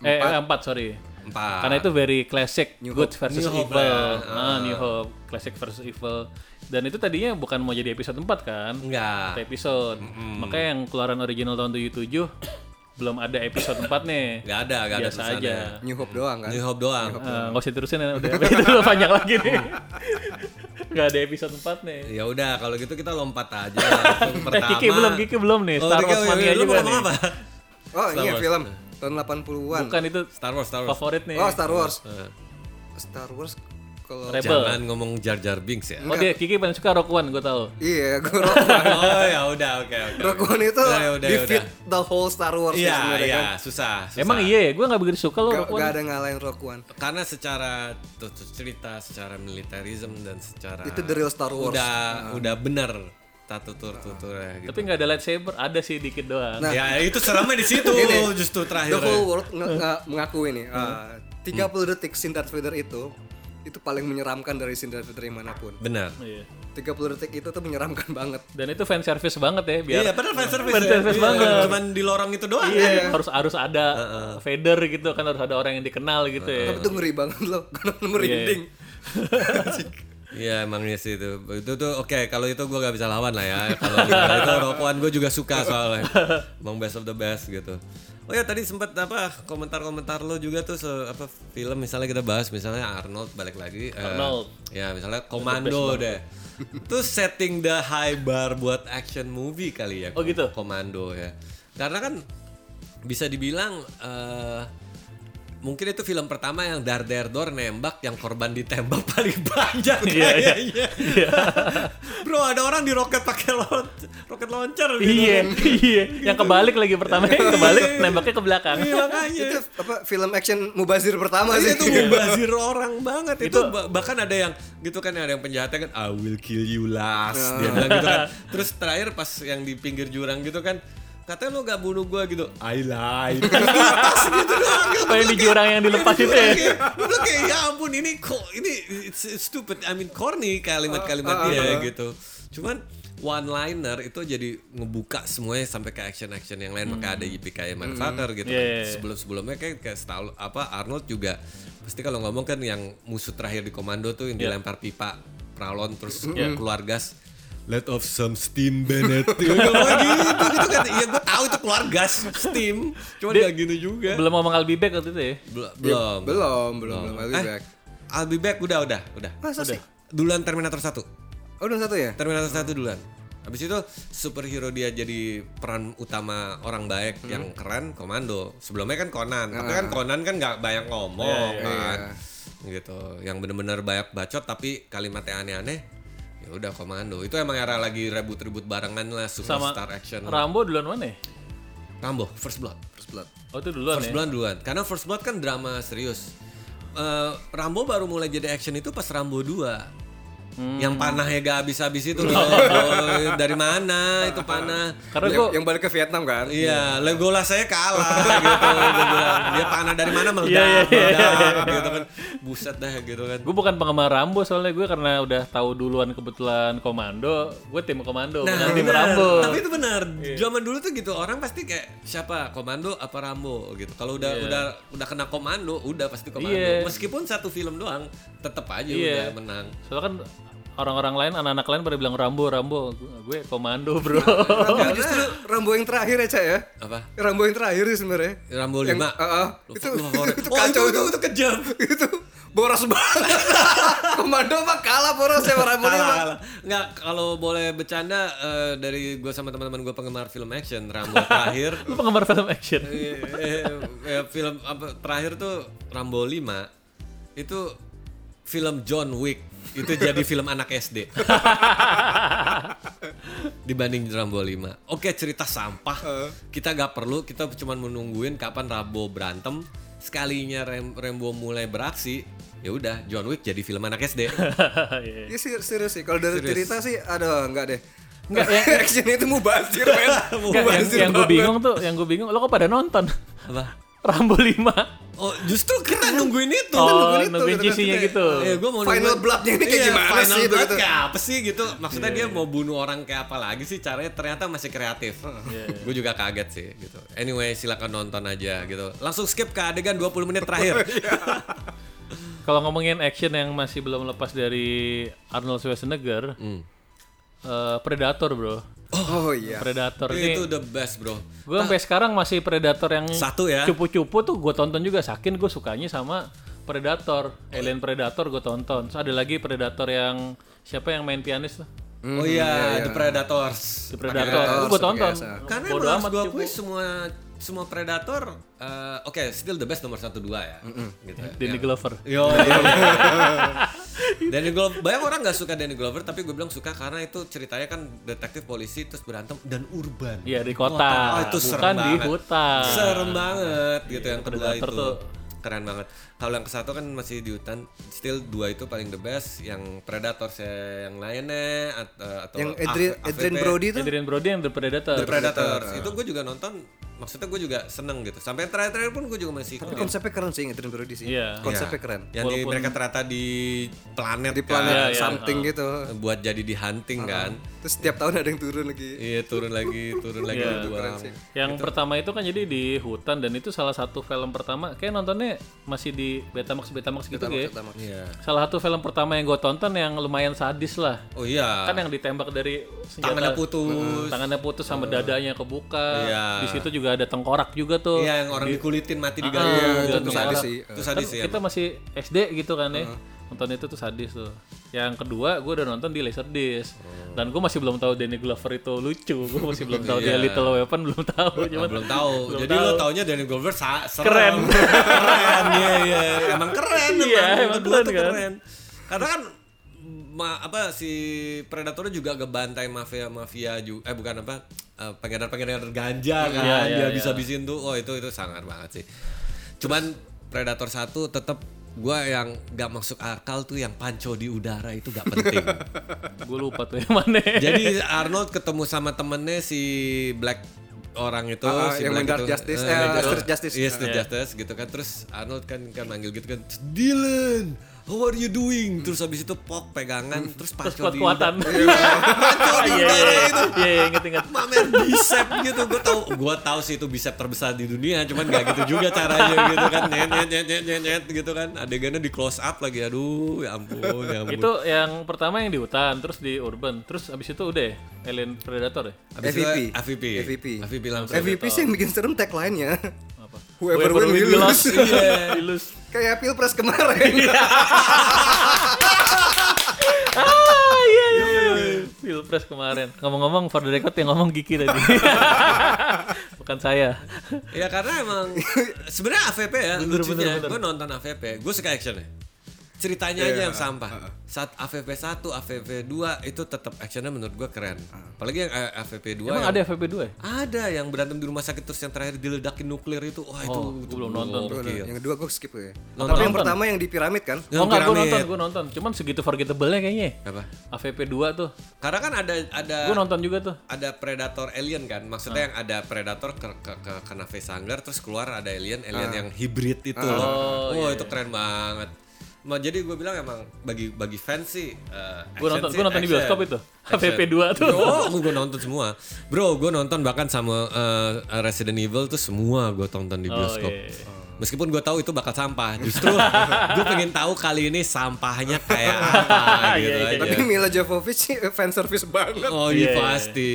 A: 1 eh 4 sorry
C: Empat.
A: karena itu very classic good versus
C: Ah. New Hope
A: evil.
C: ya.
A: Ah, New Hope, classic versus evil. Dan itu tadinya bukan mau jadi episode 4 kan?
C: Enggak.
A: Satu episode. Makanya yang keluaran original tahun 77 belum ada episode 4 nih.
C: Gak ada, gak ada
A: Biasa aja.
C: tulisannya.
B: New Hope doang kan.
C: New Hope doang.
A: Ah, Nggak usah diterusin ya, udah itu udah banyak lagi nih. Nggak ada episode 4 nih.
C: Ya udah kalau gitu kita lompat aja langsung
A: Eh
C: pertama.
A: Kiki belum, Kiki belum nih. Star
C: Kiki,
A: Wars
C: oh, iya,
A: mania
C: lu
A: juga
C: mau
A: nih.
C: ngomong apa?
B: Oh, ini ya film
C: Eh.
B: tahun 80-an.
A: Bukan itu
C: Star Wars, Star Wars.
A: favorit nih.
B: Oh, Star Wars.
C: Eh.
B: Star Wars kalau
A: Rebel.
C: Jangan ngomong Jar Jar Binks ya.
A: Oh dia Kiki paling suka Rock One, gue tahu.
B: Iya, gue Rock-
C: oh ya udah oke oke.
B: Rock One itu
C: Udah, ya, udah, ya,
B: defeat
C: udah.
B: the whole Star Wars ya
C: Iya
B: sebenarnya
C: iya
B: kan.
C: susah, susah.
A: Emang iya ya, gue nggak begitu suka lo
B: Gak,
A: Rock One.
B: gak ada ngalahin Rock One.
C: karena secara tuh, tuh, cerita, secara militarism dan secara
B: Itu the real Star Wars.
C: udah udah benar tutur tuturnya gitu.
A: Tapi nggak ada lightsaber, ada sih dikit doang.
C: ya itu seramnya di situ
B: Ini,
C: justru
B: The
C: terakhir.
B: whole world nge- nge- mengakui nih, ah, 30 detik Sin Darth Vader itu itu paling menyeramkan dari Sin Darth Vader yang manapun.
C: Benar.
A: Iya.
B: 30 detik itu tuh menyeramkan banget.
A: Dan itu fan service banget ya biar
C: Iya, benar fan service.
A: Fan
C: ya.
A: service
C: Iya,
A: banget.
C: Cuman di lorong itu doang.
A: Iya, harus harus ada Vader gitu kan harus ada orang yang dikenal gitu ya.
B: Tapi itu ngeri banget loh, karena merinding.
C: Iya emangnya sih itu Itu tuh oke kalau itu gue gak bisa lawan lah ya Kalau itu rokokan gue juga suka soalnya Emang best of the best gitu Oh ya tadi sempat apa komentar-komentar lo juga tuh se- apa film misalnya kita bahas misalnya Arnold balik lagi eh,
A: Arnold.
C: ya misalnya Komando deh Itu setting the high bar buat action movie kali ya
A: Oh, gitu?
C: Komando ya Karena kan bisa dibilang eh, Mungkin itu film pertama yang Dar Dar Dor nembak yang korban ditembak paling banyak
A: Iya, iya.
C: kayaknya. Bro, ada orang di roket pakai lon roket launcher gitu
A: Iya, iya. Yang kebalik lagi pertama yang kebalik nembaknya ke belakang.
C: Iya, makanya. Iya,
B: Itu apa film action Mubazir pertama
C: Itu,
B: sih.
C: itu mubazir orang banget itu,
A: Itu-
C: bah- bahkan ada yang gitu kan ada yang penjahatnya kan I will kill you last
A: Ah.
C: dia bilang gitu kan terus terakhir pas yang di pinggir jurang gitu kan katanya lo gak bunuh gua gitu I lied Lepas gitu doang gitu.
A: Apa yang di jurang yang dilepas itu ya?
C: Kayak- Lu kayak ya ampun ini kok ini it's stupid I mean corny kalimat-kalimat
A: Ah,
C: dia gitu. Cuman one liner itu jadi ngebuka semuanya sampai ke action-action yang lain maka ada YPKI motherfucker gitu. kan.
A: Iya, iya, iya.
C: Sebelum-sebelumnya kayak kayak Stal- apa Arnold juga pasti kalau ngomong kan yang musuh terakhir di komando tuh yang
A: Iya.
C: dilempar pipa pralon terus keluar gas Let off some steam Bennett. Dia ngomong gitu, gitu kan. Iya gue tahu itu keluar gas steam. Cuman
A: Dia-
C: gak gini juga.
A: Belum ngomong I'll be back waktu itu ya.
C: Bel-
B: Belum,
C: belum.
B: belum, belum, belum. I'll be
C: Eh,
B: back.
C: I'll be back udah udah udah.
B: Masa sih?
C: Duluan Terminator 1.
B: Oh, udah satu ya?
C: Terminator 1 duluan. Habis itu superhero dia jadi peran utama orang baik yang keren Komando. Sebelumnya kan Conan. Tapi kan Conan kan nggak banyak ngomong kan. Gitu. Yang bener-bener banyak bacot tapi kalimatnya aneh-aneh. Ya udah Komando. Itu emang era lagi rebut-rebut barengan lah
A: Sama
C: superstar action.
A: Rambo duluan mana ya?
C: Rambo First Blood.
B: First Blood.
A: Oh itu duluan ya.
C: First Blood duluan. Karena First Blood kan drama serius. Eh, Rambo baru mulai jadi action itu pas Rambo 2.
A: Hmm.
C: Yang panahnya gak habis-habis itu loh. Boy. Dari mana itu panah?
A: Karena
B: Yang,
A: gue
B: yang balik ke Vietnam kan?
C: Iya, Legolas saya kalah gitu. Dia, bilang, "Dia panah dari mana meledak,
A: Iya, iya, iya,
C: meledak," gitu kan. Buset dah gitu kan.
A: gue bukan penggemar Rambo soalnya gue karena udah tahu duluan kebetulan Komando, gue tim Komando bukan tim
C: Nah, benar.
A: Rambo. Iya.
C: Tapi itu benar. Zaman dulu tuh gitu orang pasti kayak siapa komando apa Rambo gitu. Kalau udah udah udah kena komando, udah pasti komando.
A: Iya.
C: Meskipun satu film doang, tetap aja
A: Iya.
C: udah menang.
A: Soalnya kan orang-orang lain, anak-anak lain pada bilang Rambo, Rambo. Gue Komando bro.
C: Iya,
B: Rambo Oh, justru Rambo yang terakhir ya, Cak ya?
C: Apa?
B: Rambo yang terakhir sih sebenarnya.
C: Rambo
B: Yang-
C: 5.
B: ah, ah.
C: Lu
B: Itu-
C: favorit.
B: itu
C: oh,
B: kacau
C: itu, itu, itu kejam.
B: itu boros banget. Komando mah kalah boros sama Ramoni
C: Kalah,
B: mah.
C: kalah. Nggak, kalau boleh bercanda eh, dari gue sama teman-teman gue penggemar film action Rambo terakhir
A: Lu penggemar film action.
C: eh, eh, eh, film apa terakhir tuh Rambo 5 itu film John Wick itu jadi film anak SD dibanding Rambo 5 oke cerita sampah kita gak perlu kita cuma menungguin kapan Rambo berantem sekalinya Ram- Rambo mulai beraksi ya udah John Wick jadi film anak SD
A: Iya.
B: Ini serius, serius sih kalau dari
C: Serius.
B: cerita sih aduh enggak deh.
A: Enggak, ya.
B: action itu mubazir men.
A: Nggak, yang,
B: Mubazir
A: yang gue
B: banget.
A: bingung tuh, yang gue bingung, lo kok pada nonton?
C: apa
A: Rambo 5.
C: Oh justru kita nungguin itu.
A: Oh,
B: nungguin itu, iya.
A: nungguin
B: ternyata
A: GC-nya
B: kita-
A: gitu.
C: Ya, gua mau
B: Final
C: nungguin-
B: bloodnya ini kayak
C: Iya,
B: gimana sih
C: final
B: itu
C: blood
B: gitu. Iya,
C: kayak apa sih gitu maksudnya dia mau bunuh orang kayak apa lagi sih caranya ternyata masih kreatif
B: Iya,
C: gue juga kaget sih gitu anyway silakan nonton aja gitu langsung skip ke adegan 20 menit terakhir
B: Iya.
A: Kalau ngomongin action yang masih belum lepas dari Arnold Schwarzenegger,
B: Hmm.
A: eh, Predator bro,
B: Oh iya.
A: Predator ini.
C: itu the best bro
A: Gue sampai sekarang masih Predator yang
C: Satu ya.
A: cupu-cupu tuh gue tonton juga saking gue sukanya sama Predator, Alien Predator gue tonton. Terus ada lagi Predator yang siapa yang main pianis tuh?
C: oh iya, the predators
A: Mhm, The Predator,
B: Predator,
A: gue tonton.
B: biasa.
C: karena
A: Bodo
C: menurut
A: amat
C: gue
A: cupu.
C: akui semua semua predator eh, oke still the best nomor satu dua ya
A: Mhm.
C: gitu ya.
A: Danny Glover.
C: Yo.
A: Iya.
C: Danny Glover, banyak orang nggak suka Danny Glover, tapi gue bilang suka karena itu ceritanya kan detektif polisi terus berantem dan urban.
A: Iya di kota,
C: Oh, itu serem
A: bukan di
C: banget.
A: hutan.
C: Serem banget gitu yang kedua
A: Predator
C: itu.
A: tuh.
C: Keren banget. Kalau yang kesatu kan masih di hutan, still dua itu paling the best. Yang Predator saya yang lainnya at- eh, atau
B: Yang
C: Af-
B: Adrian,
C: AVP.
B: Adrian Brody itu
A: Adrian Brody yang The Predator.
C: The Predator. Itu gue juga nonton. Maksudnya gue juga seneng gitu. Sampai yang terakhir-terakhir pun gue juga masih
B: tapi konsepnya keren sih Adrian Brody sih.
A: Iya.
B: Konsepnya
C: Iya.
B: keren.
C: Yang di,
A: Walaupun-
C: mereka ternyata di planet
B: Di
A: Iya,
C: kan,
B: planet
A: iya.
B: something gitu.
C: buat jadi di hunting kan.
B: Terus setiap tahun ada yang turun lagi.
C: Iya turun lagi, turun lagi
A: Iya.
C: doang.
A: Yang
C: gitu.
A: pertama itu kan jadi di hutan dan itu salah satu film pertama kayak nontonnya masih di Betamax Betamax gitu ya.
B: Pertama.
C: Iya.
A: Salah satu film pertama yang gue tonton yang lumayan sadis lah.
C: Oh iya.
A: Kan yang ditembak dari senjata
C: tangannya putus. Ah.
A: tangannya putus sama dadanya kebuka.
C: Iya.
A: Di situ juga ada tengkorak juga tuh.
C: Iya yang orang dikulitin mati di
A: Iya,
C: gayung.
A: iya,
C: itu
A: iya.
C: sadis
B: Iya.
C: sih. Itu
A: Kan
C: sadis ya.
A: kita masih SD gitu kan ya. Nonton itu tuh sadis tuh. Yang kedua gue udah nonton di Laserdisc. Dan gue masih belum tahu Danny Glover itu lucu. Gue masih belum tahu dia Little Weapon belum tahu. Cuman
C: belum tahu.
A: Belum
C: Jadi
A: tahu.
C: lo taunya Danny Glover sa- serem.
A: Keren.
C: keren. Iya iya. Emang keren.
A: Iya, emang
C: Kedua
A: keren
C: tuh
A: kan?
C: Karena kan ma- apa si predatornya juga ngebantai mafia mafia juga eh bukan apa eh, pengedar-pengedar ganja kan
A: Iya, iya, iya.
C: dia bisa bisin tuh oh itu itu sangat banget sih cuman predator satu tetap gua yang gak masuk akal tuh yang panco di udara itu gak penting
A: gue lupa tuh yang mana.
C: Jadi Arnold ketemu sama temennya si Black orang itu
B: Ah, ah,
C: si
B: yang
C: Black
B: main Dark Justice,
C: Eh,
B: eh,
C: Black
B: Street Justice.
C: Iya, Street Justice gitu kan. Terus Arnold kan kan manggil gitu kan, Dylan, how are you doing? Terus habis itu pok pegangan,
A: Terus
C: terus panco di
A: kuat-kuatan.
C: panco di
A: Iya,
C: udara
A: iya,
C: itu.
A: iya, iya, inget-inget.
C: Mamer Ah, bicep gitu, gue tau, gue tau sih itu bicep terbesar di dunia, cuman gak gitu juga caranya gitu kan, nyet nyet nyet nyet nyet, nyet gitu kan, adegannya di close up lagi, aduh, ya ampun, ya ampun.
A: Itu yang pertama yang di hutan, terus di urban, terus abis itu udah ya, Alien Predator ya?
C: Abis
B: AVP.
C: itu AVP.
B: AVP.
C: AVP langsung.
B: MVP sih yang bikin serem tagline-nya.
A: Iya. Apa?
B: Whoever win, we lose.
A: Iya, we lose. Iya.
B: Kayak Pilpres kemarin.
A: Ah, iya, iya, iya. Pilpres kemarin. Ngomong-ngomong, for the record yang ngomong Giki tadi. Bukan saya.
C: Ya karena emang sebenarnya AVP ya
A: Bener,
C: lucunya.
A: bener, Iya, bener.
C: Gue nonton AVP, gue suka actionnya. Ceritanya aja yang sampah. Saat AVP 1, AVP 2 itu tetap actionnya menurut gue keren.
A: Ah.
C: Apalagi yang eh, AVP 2
A: Emang
C: yang-
A: ada FVP2 ya?
C: ada yang berantem di rumah sakit terus yang terakhir diledakin nuklir itu. Wah itu,
A: Oh,
C: itu
A: gua belum nonton.
C: gokil.
B: yang kedua gue skip ya.
C: Iya. Nonton.
B: Tapi yang
A: Nonton.
B: pertama yang di piramid kan.
A: Oh enggak, gue
C: Piramid.
A: nonton, gue nonton. Cuman segitu forgettable-nya kayaknya.
C: Apa?
A: AVP2 tuh.
C: Karena kan ada ada
A: Gue nonton juga tuh.
C: ada predator alien kan
A: Ah.
C: maksudnya yang ada predator ke, ke, ke kena facehugger terus keluar ada alien alien
A: Ah.
C: yang hybrid itu loh oh
A: iya,
C: itu keren banget Ma, jadi gue bilang emang bagi bagi fans sih eh,
A: Gue nonton, gue nonton di bioskop itu. AVP2 tuh.
C: Oh, gue nonton semua. Bro, gue nonton bahkan sama eh, Resident Evil tuh semua gue tonton di
A: Oh,
C: bioskop.
A: iya.
C: Meskipun gue tahu itu bakal sampah, justru gue pengen tahu kali ini sampahnya kayak apa
A: Iya,
C: gitu
A: iya,
C: aja.
B: Tapi Mila Jovovich sih fan service banget.
C: Oh
A: Iya,
C: iya
A: iya.
C: pasti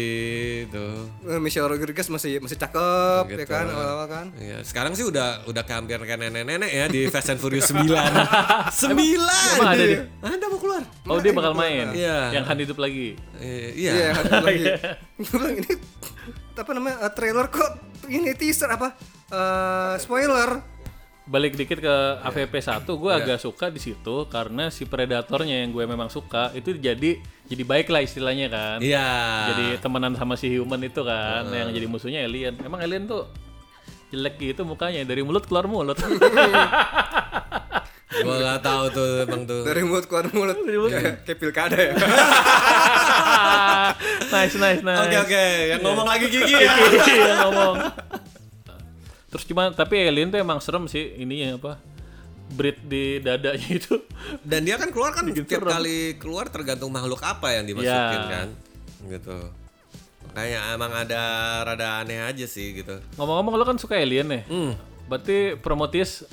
C: tuh.
B: Eh, Michelle Rodriguez masih masih cakep ya
C: Gitu.
B: kan awal-awal kan.
C: Iya, sekarang sih udah udah kayak hampir kayak nenek-nenek ya di Fast and Furious 9. 9.
A: Emang ada di?
C: Ada mau keluar.
A: Oh dia
B: Nah,
A: bakal main.
C: Iya.
A: Yang kan hidup lagi.
C: Eh,
B: Iya,
C: iya.
B: ada lagi. Gua bilang ini apa namanya eh, trailer kok ini teaser apa Eh, spoiler.
A: Balik dikit ke AVP 1, gue agak suka di situ karena si predatornya yang gue memang suka itu jadi jadi baik lah istilahnya kan.
C: Iya.
A: Jadi temenan sama si human itu kan,
C: Ah.
A: yang jadi musuhnya alien. Emang alien tuh jelek gitu mukanya dari mulut keluar mulut.
C: Gua gak tahu tuh emang tuh.
B: Dari mulut keluar mulut. Kayak kayak pilkada ya.
A: nice nice nice.
C: Oke oke, yang ngomong lagi gigi ya.
A: Iya, yang ngomong. Terus cuman tapi alien tuh emang serem sih ininya apa? Breed di dadanya itu.
C: Dan dia kan keluar kan
A: Bikin serem.
C: tiap kali keluar tergantung makhluk apa yang dimasukin
A: Iya.
C: kan. Gitu. Makanya emang ada rada aneh aja sih gitu.
A: Ngomong-ngomong lo kan suka alien nih.
C: Hmm.
A: Berarti Prometheus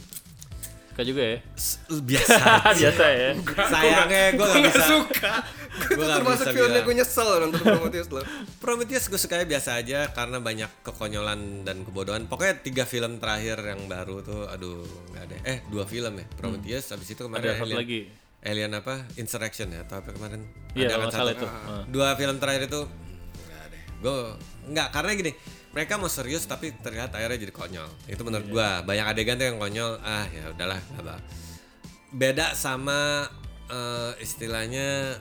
A: suka juga ya?
C: S- Biasa.
A: Biasa ya.
C: Sayangnya gue gak bisa. suka.
B: Itu termasuk filmnya gue nyesel nonton Prometheus loh.
C: Prometheus gue sukanya biasa aja karena banyak kekonyolan dan kebodohan. Pokoknya tiga film terakhir yang baru tuh, aduh nggak ada. Eh dua film ya, Prometheus. Abis itu kemarin
A: Hmm. Ada satu lagi.
C: Alien apa? Insurrection ya atau apa kemarin?
A: Iya, kalau
C: Ada kan
A: nggak salah itu.
C: satu.
A: Heeh.
C: Dua film terakhir itu hmm, nggak deh. Gue nggak karena gini. Mereka mau serius tapi terlihat akhirnya jadi konyol. Itu
A: Iya.
C: menurut gua banyak adegan tuh yang konyol. Ah ya udahlah nggak apa. Beda sama eh, istilahnya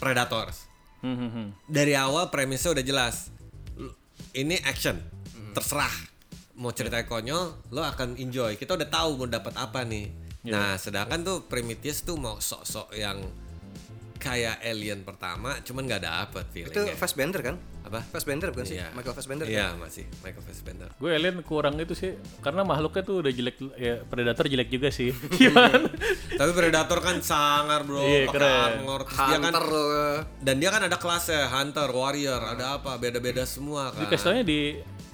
C: Predators
A: Hmm, hmm, hmm.
C: dari awal premisnya udah jelas. Lu- Ini action,
B: Mhm.
C: terserah mau
B: Iya.
C: ceritanya konyol, lo akan enjoy. Kita udah tahu mau dapat apa nih.
B: Iya.
C: Nah, sedangkan tuh Prometheus tuh mau sok-sok yang kayak alien pertama, cuman nggak dapet
B: Itu
C: feelingnya.
B: Fassbender kan?
C: Apa?
B: Fassbender bukan sih? Michael Fassbender. kan?
C: Iya masih Michael Fassbender.
A: Gue alien kurang itu sih karena makhluknya tuh udah jelek ya predator jelek juga sih. Gimana?
C: Tapi Predator kan sangar bro,
A: Iya,
C: pakai
A: keren.
C: armor, Terus dia kan
B: Hunter eh, loh.
C: dan dia kan ada kelasnya hunter, warrior, ada apa beda-beda semua
A: Di
C: kan.
A: kasihnya di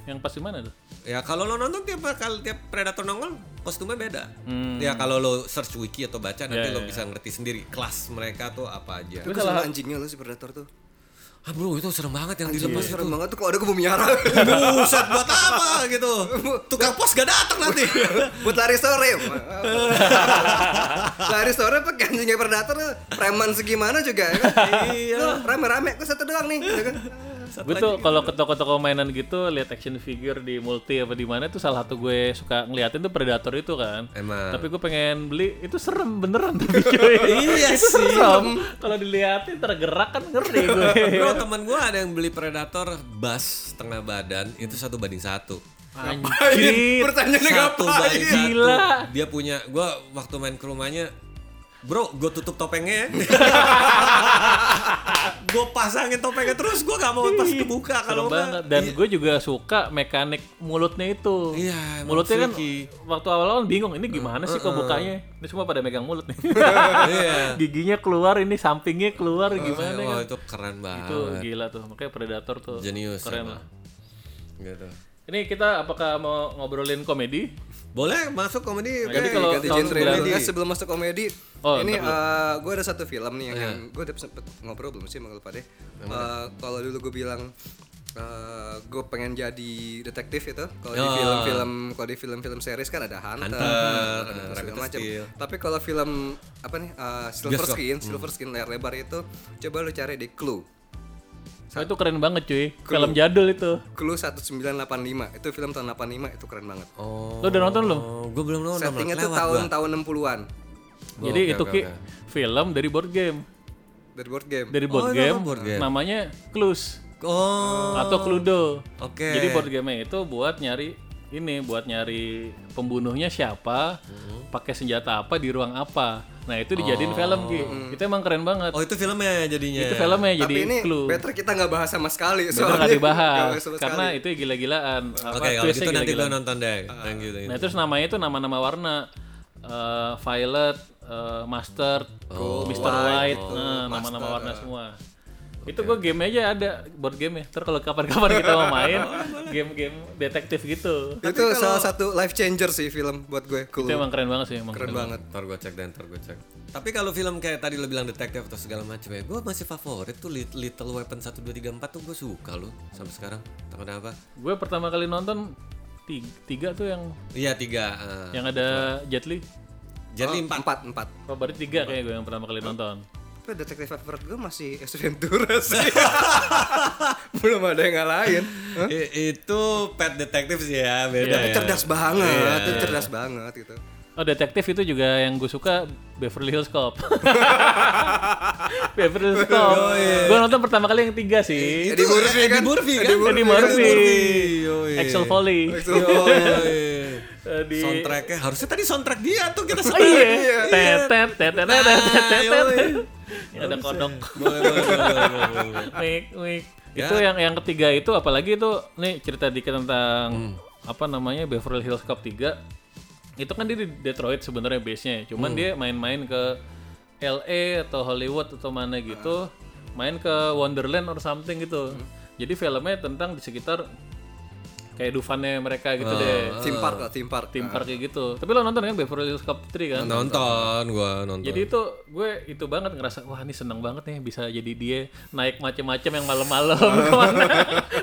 A: yang pas di mana tuh?
C: Ya kalau lo nonton tiap kali tiap predator nongol kostumnya beda. Ya kalau lo search wiki atau baca nanti lo bisa ngerti sendiri kelas mereka tuh apa aja.
B: Itu kan- sama anjingnya loh si Predator tuh.
C: Ah bro itu serem banget yang
B: Anjingnya
C: dilepas
B: serem banget tuh kalau ada gue miara.
C: Buset buat apa gitu? Tukang pos gak datang nanti.
B: Buat lari sore. lari sore pakai anjingnya Predator tuh, preman segimana juga ya kan.
C: Iya.
B: Loh, rame-rame gue satu doang nih. ya kan?
A: Gue tuh kalau ke toko-toko mainan gitu lihat action figure di multi apa di mana tuh salah satu gue suka ngeliatin tuh predator itu kan.
C: Emang.
A: Tapi gue pengen beli itu serem beneran tapi cuy.
C: Iya
A: Itu
C: sih.
A: Serem. Kalau diliatin tergerak kan ngeri gue.
C: Bro teman gue ada yang beli predator bas setengah badan itu satu banding satu. Iya,
A: Anjir.
B: Pertanyaannya
C: satu
B: ngapain?
C: banding
A: Gila.
C: satu. Dia punya gue waktu main ke rumahnya Bro, gue tutup topengnya ya." Gue pasangin topengnya terus Gue gak mau pas kebuka
A: Serem
C: kalau
A: banget
C: enggak
A: dan gue juga suka mekanik mulutnya itu.
C: Iya, emang
A: mulutnya kan
C: freaky.
A: waktu awal-awal bingung ini gimana sih kok bukanya? Ini semua pada megang mulut nih.
C: Iya. ya?
A: Giginya keluar ini sampingnya keluar gimana
C: Wah,
A: kan?
C: itu keren banget.
A: Itu gila tuh makanya predator tuh.
C: Jenius.
A: Keren lah.
C: Gitu.
A: Ini kita apakah mau ngobrolin komedi?
C: Boleh masuk komedi?
A: Jadi
C: Oke.
A: kalau-
B: ganti
A: tahun
B: genre
A: sembilan-
B: dulu. Eh, sebelum masuk komedi
A: Oh,
B: ini
A: ntar dulu.
B: eh, gue ada satu film nih yang,
C: Iya.
B: gue udah sempet ngobrol belum sih sama lupa deh Eh, kalau dulu gue bilang eh, gue pengen jadi detektif itu kalau di
C: Oh.
B: film-film kalau di film-film series kan ada hunter,
C: Hunter,
B: ada
C: eh,
B: segala
C: Rabbit
B: macam
C: Steel.
B: tapi kalau film apa nih eh, silver
C: Bioskop. Hmm.
B: skin silver skin layar lebar itu coba lu cari di clue
A: Oh, itu keren banget cuy. Film jadul itu.
B: clue 1985 itu film tahun 85 itu keren banget
C: Oh,
A: Lo udah nonton belum?
C: gue belum nonton.
B: settingnya tuh
C: lewat gua.
B: tahun-tahun 60-an
C: Oh,
A: Jadi
C: oke,
A: itu
C: oke,
A: Ki,
C: oke.
A: film dari board game.
B: dari board game
A: Dari board,
C: Oh, itu
A: game,
C: nama board game.
A: namanya Clues
C: Oh.
A: atau Cluedo.
C: Oke.
A: Jadi board game itu buat nyari ini buat nyari pembunuhnya siapa,
C: Hmm.
A: pakai senjata apa di ruang apa. Nah, itu dijadiin film Ki. Itu emang keren banget.
C: Oh, itu filmnya jadinya.
A: itu filmnya jadi
B: Tapi ini
A: clue.
B: better kita nggak bahas sama sekali
A: Bener
B: soalnya
A: nggak dibahas
B: Nggak sama
A: karena
B: sekali.
A: itu gila-gilaan. Apa,
C: Oke, kalau
A: twistnya
C: gitu nanti
A: gila-gilaan.
C: gue nonton deh. Thank you, thank you.
A: Nah terus namanya itu nama-nama warna eh
B: Oh, gitu.
A: Violet, eh, Mustard, Mr. White, nah, nama-nama warna semua. Itu gue game aja ada board game ya. Ntar kalau kapan-kapan kita mau main game-game detektif gitu.
B: itu salah satu life changer sih film buat gue cool
A: Itu emang keren banget sih emang.
B: keren banget
C: Ntar gue cek dan ntar gue cek. Tapi kalau film kayak tadi lo bilang detektif atau segala macam ya, gue masih favorit tuh Lit- Little Weapon 1, 2, 3, 4 tuh gue suka loh sampai sekarang. Entah kenapa?
A: Gue pertama kali nonton tiga, tiga tuh yang
C: Iya tiga. eh.
A: yang ada Jet Li.
C: Jadi empat.
B: empat empat
A: Oh, baru tiga kayak gue yang pertama kali nonton.
B: tapi detektif favorit gue masih S. Ventura sih belum ada yang ngalahin Hah?
C: I- itu pet detektif sih
A: Iya,
C: ya beda
B: tapi
C: ya.
B: cerdas banget itu cerdas banget gitu
A: Oh detektif itu juga yang gue suka Beverly Hills Cop. Beverly Hills Cop. Gue nonton pertama kali yang tiga sih.
B: Eddie Murphy kan
C: Eddie Murphy kan?
B: Eddie
A: Eddie
B: Murphy
A: Murphy,
C: yoi.
A: Axel Foley. Eh, Di
C: Di... Soundtracknya harusnya tadi soundtrack dia tuh kita
A: Oh iya. Nah, Tet tet tet tet tet tet tet tet.
C: yoi.
A: Ya, Ada kodok.
C: Boleh, boleh, boleh, boleh, boleh.
A: Mik mik. Itu yang yang ketiga itu apalagi itu nih cerita dikit tentang apa namanya Beverly Hills Cop 3. Itu kan dia di Detroit sebenarnya base-nya, ya. cuman dia main-main ke LA atau Hollywood atau mana gitu, main ke Wonderland or something gitu. Jadi filmnya tentang di sekitar kayak Dufannya mereka gitu deh.
B: theme park lah theme park
A: Tim park kayak gitu. Tapi lo nonton kan Beverly Hills Cop 3 kan?
C: Nonton gue nonton.
A: Jadi itu gue itu banget ngerasa wah ini seneng banget nih bisa jadi dia naik macem-macem yang malam-malam kemana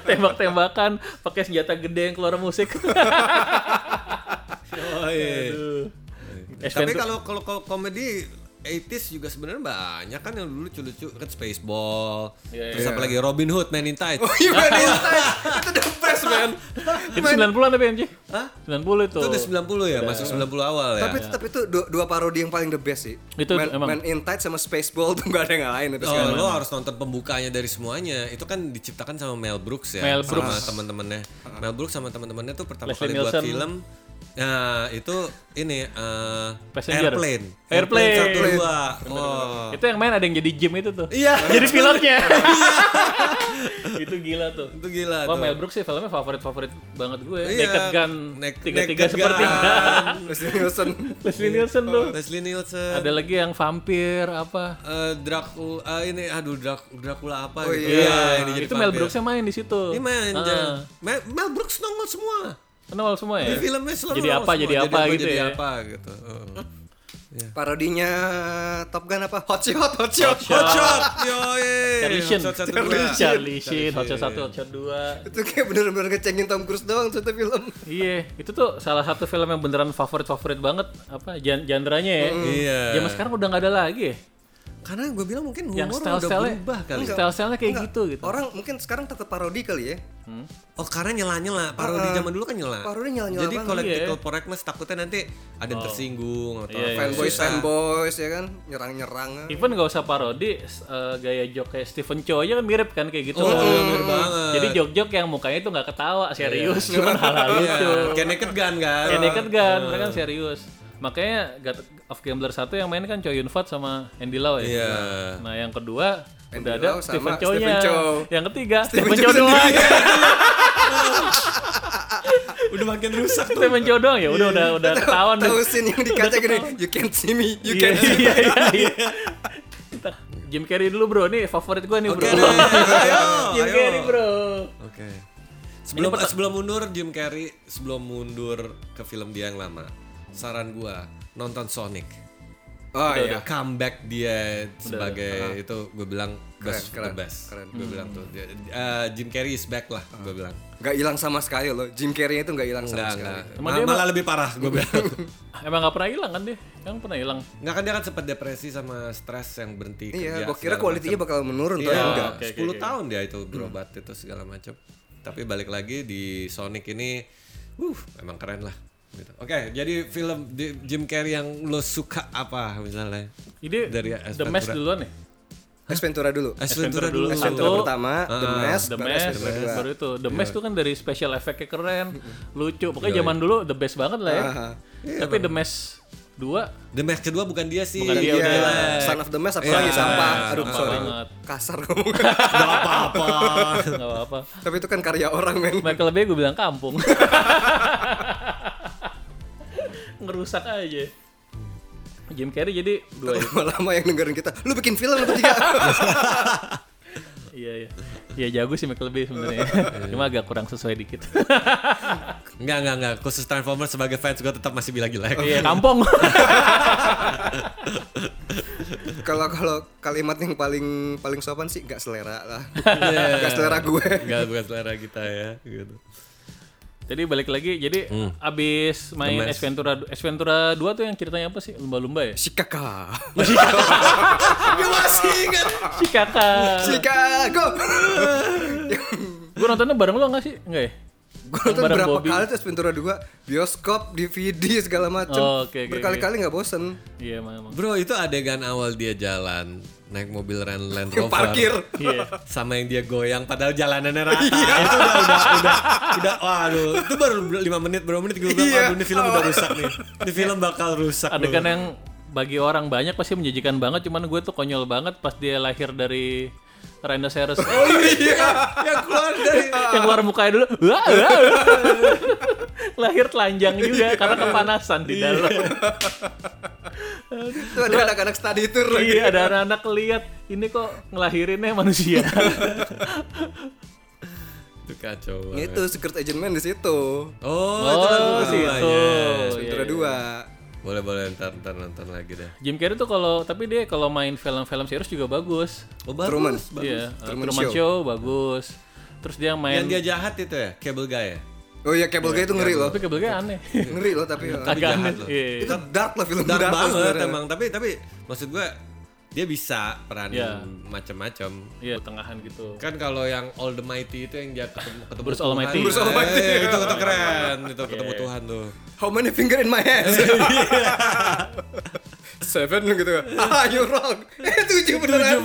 A: tembak-tembakan pakai senjata gede yang keluar musik.
C: Oh, iya.
A: Aduh.
C: Tapi
A: Adventure-
C: kalau kalau kalau komedi 80s juga sebenarnya banyak kan yang dulu lucu-lucu kan Spaceball.
A: Iya,
C: Terus apalagi Robin Hood Man in Tights.
B: Iya, Man in Tights. itu the best man
A: itu 90-an tapi anjing.
C: Hah?
A: 90 itu.
C: Itu udah 90 ya, masuk 90 awal ya.
B: tapi tetap itu dua, dua parodi yang paling the best sih
A: Itu
B: Man,
A: emang.
B: Man in Tights sama Spaceball tuh gak ada yang ngalahin itu
C: Oh,
B: sekarang
A: Iya,
C: lo harus nonton pembukanya dari semuanya. Itu kan diciptakan sama Mel Brooks ya,
A: Mel
C: sama teman-temannya. Mel Brooks sama teman-temannya tuh pertama
A: Leslie
C: kali buat
A: Nielsen.
C: film. Nah, itu ini eh,
A: Passenger.
C: airplane.
A: Airplane.
C: satu dua. Wow.
A: Itu yang main ada yang jadi Jim itu tuh.
C: Iya.
A: Jadi pilotnya. itu gila tuh.
C: Itu gila
A: Wah
C: tuh.
A: Mel Brooks sih filmnya favorit-favorit banget gue.
C: Iya.
A: Naked Gun
C: Nek-
A: tiga-tiga
C: Naked
A: seperti
C: Gun.
B: Leslie Nielsen
A: Leslie Nielsen tuh.
C: Leslie Nielsen.
A: Ada lagi yang vampir apa?
C: eh, Dracula eh, ini aduh Drac- Dracula
B: Oh,
C: apa gitu.
B: iya.
C: ini jadi
A: itu Mel
C: vampir.
A: Brooksnya main di situ.
C: Ini main
A: Ah,
C: Jan. Mel, Mel Brooks nongol semua.
A: kenal semua ya.
C: Di filmnya selalu
A: Jadi
C: nongol
A: apa,
C: semua.
A: jadi apa gitu
C: jadi
A: ya.
C: apa gitu. Heeh.
B: parodinya Top Gun apa Hot Shot Hot Shot
C: Hot shot, yoi.
A: Charlie Sheen,
C: Hot shot Iya, satu dua.
A: Charlie Sheen, Hotshot satu, Hotshot dua.
B: itu kayak bener-bener ngecengin Tom Cruise doang satu film
A: Iya, itu tuh salah satu film yang beneran favorit-favorit banget apa jan jandranya ya.
C: Iya.
A: Zaman sekarang udah nggak ada lagi ya.
C: Karena gue bilang mungkin humor
A: Yang
C: udah
A: style-style
C: berubah kali.
A: Style-style kayak gitu gitu.
B: orang mungkin sekarang tetap parodi kali ya
C: Oh karena nyela-nyela, parodi zaman dulu kan nyela.
B: parodi nyela-nyela
C: Jadi
B: banget.
C: political correctness takutnya nanti ada yang tersinggung atau
A: Oh. Iya,
C: apa.
B: fanboys
C: Susah.
B: fanboys ya kan nyerang-nyerang
A: Even gak usah parodi, s- eh, gaya jok kayak Stephen Chow aja kan mirip kan kayak gitu.
C: Oh,
A: loh.
C: iya, mirip banget.
A: Jadi jok-jok yang mukanya itu nggak ketawa, serius, cuman hal-hal gitu.
C: Iya,
A: lucu.
C: kayak naked gun kan.
A: Ya Naked Gun, mereka kan serius. Makanya God of Gambler 1 yang main kan Choi Yun Fat sama Andy Lau ya.
C: Iya.
A: Nah, yang kedua
B: Andy
A: udah ada
B: Lau sama
A: Stephen Chow-nya.
B: Stephen Chow.
A: Yang ketiga
B: Stephen
A: Stephen, Chow
B: Chow
A: doang.
C: Udah makin rusak tuh.
A: Stephen Chow doang ya, udah udah udah ketahuan
B: tahu scene yang di kaca gini you can't see me you
A: Iya
B: can't see
A: iya iya. Bentar, Jim Carrey dulu bro, nih favorit gua nih bro.
C: Oke deh, ayo,
A: Jim
C: ayo.
A: Carrey bro.
C: Oke. Sebelum eh, sebelum mundur Jim Carrey sebelum mundur ke film dia yang lama. Saran gua nonton Sonic.
B: oh iya
C: Comeback dia sebagai itu gue bilang best
B: keren,
C: the best.
B: keren.
C: Gue bilang tuh dia- eh, Jim Carrey is back lah gue bilang.
B: nggak hilang sama sekali loh Jim Carrey itu nggak hilang sama
C: Enggak,
B: sekali
C: enggak.
A: Emang
C: Ma-
A: dia
C: malah lebih parah gue bilang.
A: Emang gak pernah hilang kan dia? Emang pernah hilang.
C: Enggak kan dia kan sempat depresi sama stres yang berhenti
B: iya
C: kerja.
B: gua kira
C: segala
B: kualitinya
C: macam.
B: bakal menurun
C: Iya,
B: tapi enggak
A: oke,
C: 10
A: oke, Hmm. oke.
C: tahun dia itu berobat itu segala macam. Tapi balik lagi di Sonic ini uh emang keren lah. Gitu. Oke, jadi film di- Jim Carrey yang lo suka apa misalnya?
A: Ini
C: Dari
A: The
C: Aspect
A: Mask
C: Dra-
A: duluan ya?
B: Ace Ventura dulu
C: Ace Ventura dulu.
A: dulu.
B: Ace
A: Satu.
B: Ventura pertama The Mask
A: Nah, The
B: baru
A: Mask,
B: Ace Ventura dua.
A: baru itu. The Mask tuh kan dari special effect-nya keren, lucu. Pokoknya zaman dulu the best banget lah ya.
B: Iya,
A: Tapi The Mask 2
C: The Mask kedua bukan dia sih.
A: Bukan
B: Dan
A: dia
B: iya,
A: udah
B: Son of the Mask apa
C: Iya,
B: lagi sampah aduh
A: sampah
B: sorry
A: banget. Ah,
B: kasar ngomong
C: Nggak apa-apa.
A: nggak apa-apa.
B: tapi itu kan karya orang men
A: Michael Bay gue bilang kampung. Ngerusak aja. Jim Carrey jadi dua itu.
B: lama-lama yang dengerin kita lu bikin film apa tiga
A: Iya iya. Iya jago sih Michael Bay sebenarnya.
B: Iya.
A: Cuma agak kurang sesuai dikit.
C: Enggak, enggak, enggak. Khusus Transformers sebagai fans gue tetap masih bila-gila.
A: Iya kampung.
B: Kalau kalau kalimat yang paling paling sopan sih nggak selera lah.
C: Iya.
B: Nggak selera gue.
C: Enggak bukan selera kita ya. Gitu.
A: Jadi balik lagi, jadi
B: Hmm.
A: abis main
C: Gemes.
A: Ace Ventura, Ace Ventura 2 tuh yang ceritanya apa sih? Lumba-lumba ya?
B: Si kakak. Gue masih ingat.
A: Si kakak.
B: Si kakak.
A: Gue nontonnya bareng lo gak sih? Enggak ya? Yang
B: Gue Ya, nonton
A: bareng
B: berapa
A: Bobby.
B: kali terus Ventura 2 bioskop, DVD segala macem.
A: Oh, oke, oke,
B: Berkali-kali nggak bosen.
A: Iya emang emang.
C: Bro, itu adegan awal dia jalan naik mobil Land Land
B: Yang
C: Rover.
B: parkir.
A: Iya.
C: sama yang dia goyang padahal jalanannya rata itu udah udah udah udah waduh itu baru 5 menit berapa menit gue bilang
B: Iya.
C: aduh ini film
A: Oh.
C: udah rusak nih ini film bakal rusak
A: Adegan
C: bro."
A: yang bagi orang banyak pasti menjijikan banget, cuman gue tuh konyol banget pas dia lahir dari Rhinoceros.
B: Oh,
C: iya yang keluar dari
A: yang keluar mukanya dulu, wah, wah, wah. lahir telanjang juga karena kepanasan di dalam.
B: Itu ada anak-anak study tour lagi.
A: Iya, ada anak-anak lihat ini kok ngelahirinnya manusia.
C: itu kacau banget.
B: Itu Gitu, Secret Agent Man di situ.
C: Iya, oh, itu lagu
A: oh, sih
C: keduanya.
A: itu.
B: Ventura
A: iya,
B: 2.
C: boleh boleh ntar ntar nonton lagi deh
A: Jim Carrey tuh kalau tapi dia kalau main film-film serius juga bagus.
C: oh bagus,
B: Truman.
C: bagus.
A: Iya, uh,
B: Truman
A: Truman, Show. bagus. Terus dia
C: yang
A: main
C: dia jahat itu ya cable guy ya
B: Oh iya, Cable Guy itu ngeri loh.
A: tapi kebelakang aneh.
B: Ngeri loh tapi.
A: Agak
C: jahat
A: aneh.
C: loh.
A: Iya.
B: Itu dark lah film
C: dark
B: lah
C: banget
B: sebenarnya.
C: emang tapi tapi maksud gue dia bisa peranin
A: Iya.
C: macam-macam
A: Iya, tengahan gitu.
C: Kan kalau yang All the Mighty itu yang dia ketemu ketemu
A: Bruce
C: Tuhan.
A: Almighty. Iya,
B: Bruce Almighty.
C: Eh, itu itu keren, itu ketemu Tuhan tuh.
B: How many finger in my hand? Seven gitu. Ah, you wrong. Eh, tujuh beneran.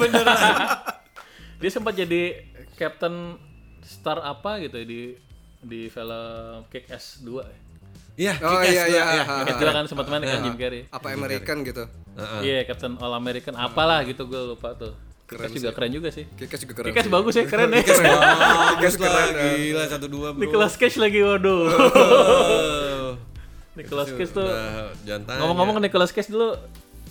A: Dia sempat jadi Captain Star apa gitu ya di di film Kick Ass 2. ya.
C: Iya,
B: Oh
C: kick-ass
B: iya
C: tuh,
B: iya.
C: iya.
B: ah,
A: Kick Ass 2 kan sempat main kan Jim Carrey.
B: Apa American gitu?
C: Heeh.
A: Iya, Captain All American apalah gitu gue lupa tuh. Kick Ass juga keren juga sih.
B: Kikas juga keren.
A: Kick Ass bagus ya, keren ya.
C: Bagus Iya.
B: Kick-ass
C: lah,
B: keren. ah.
C: gila satu dua bro.
A: Nicolas Cage lagi waduh.
C: Oh.
A: Nicolas Cage tuh
C: Nah, jangan tanya.
A: Ngomong-ngomong Nicolas Cage dulu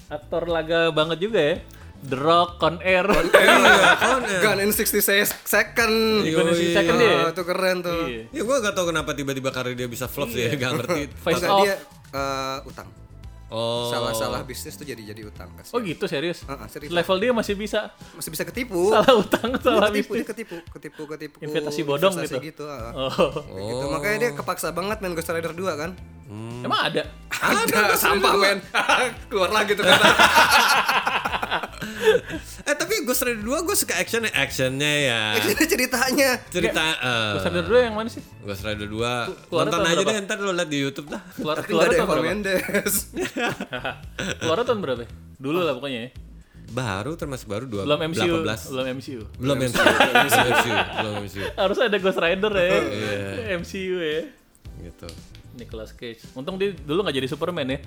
A: aktor laga banget juga ya. The Rock, Con Air.
C: Iya, kan ya.
B: Gun in 60 se- second.
A: Gun in 60 second dia ya?
B: Oh, itu keren tuh.
A: Iya.
C: Ya gue gak tau kenapa tiba-tiba karir dia bisa flop sih, gak ngerti.
A: Face
B: Enggak
A: off.
B: dia eh, utang.
C: Oh,
B: Salah-salah bisnis tuh jadi-jadi utang. kasihan.
A: Oh gitu serius?
B: Ah, ah, serius.
A: Level dia masih bisa
B: Masih bisa ketipu.
A: salah utang,
B: Dia
A: salah
B: ketipu, dia
A: bisnis.
B: ketipu, ketipu, ketipu.
A: Investasi bodong
B: investasi
A: gitu.
B: ah.
A: Oh.
B: Kayak gitu. Makanya dia kepaksa banget main Ghost Rider 2 kan.
A: Emang ada?
B: Ah. Ada sampah men. Keluar lagi tuh kata.
C: eh tapi Ghost Rider 2 gue suka actionnya, actionnya ya.
B: Ini ceritanya.
C: Cerita, eh,
A: Iya. Ghost Rider 2 yang mana sih?
C: Ghost Rider 2
A: keluarnya
C: nonton
A: tahun
C: aja
A: berapa?
C: deh ntar lo liat di YouTube dah.
A: Keluar
B: Tapi
A: keluar
B: nggak ada
A: tahun
B: Eva
A: berapa?
B: Mendes.
A: Keluar tahun berapa? ya? Dulu lah pokoknya ya.
C: Baru termasuk baru dua
A: Belum MCU,
C: 18.
A: belum MCU.
C: belum MCU belum MCU belum MCU
A: Harus ada Ghost Rider ya. MCU ya.
C: gitu
A: Nicolas Cage. Untung dia dulu nggak jadi Superman ya.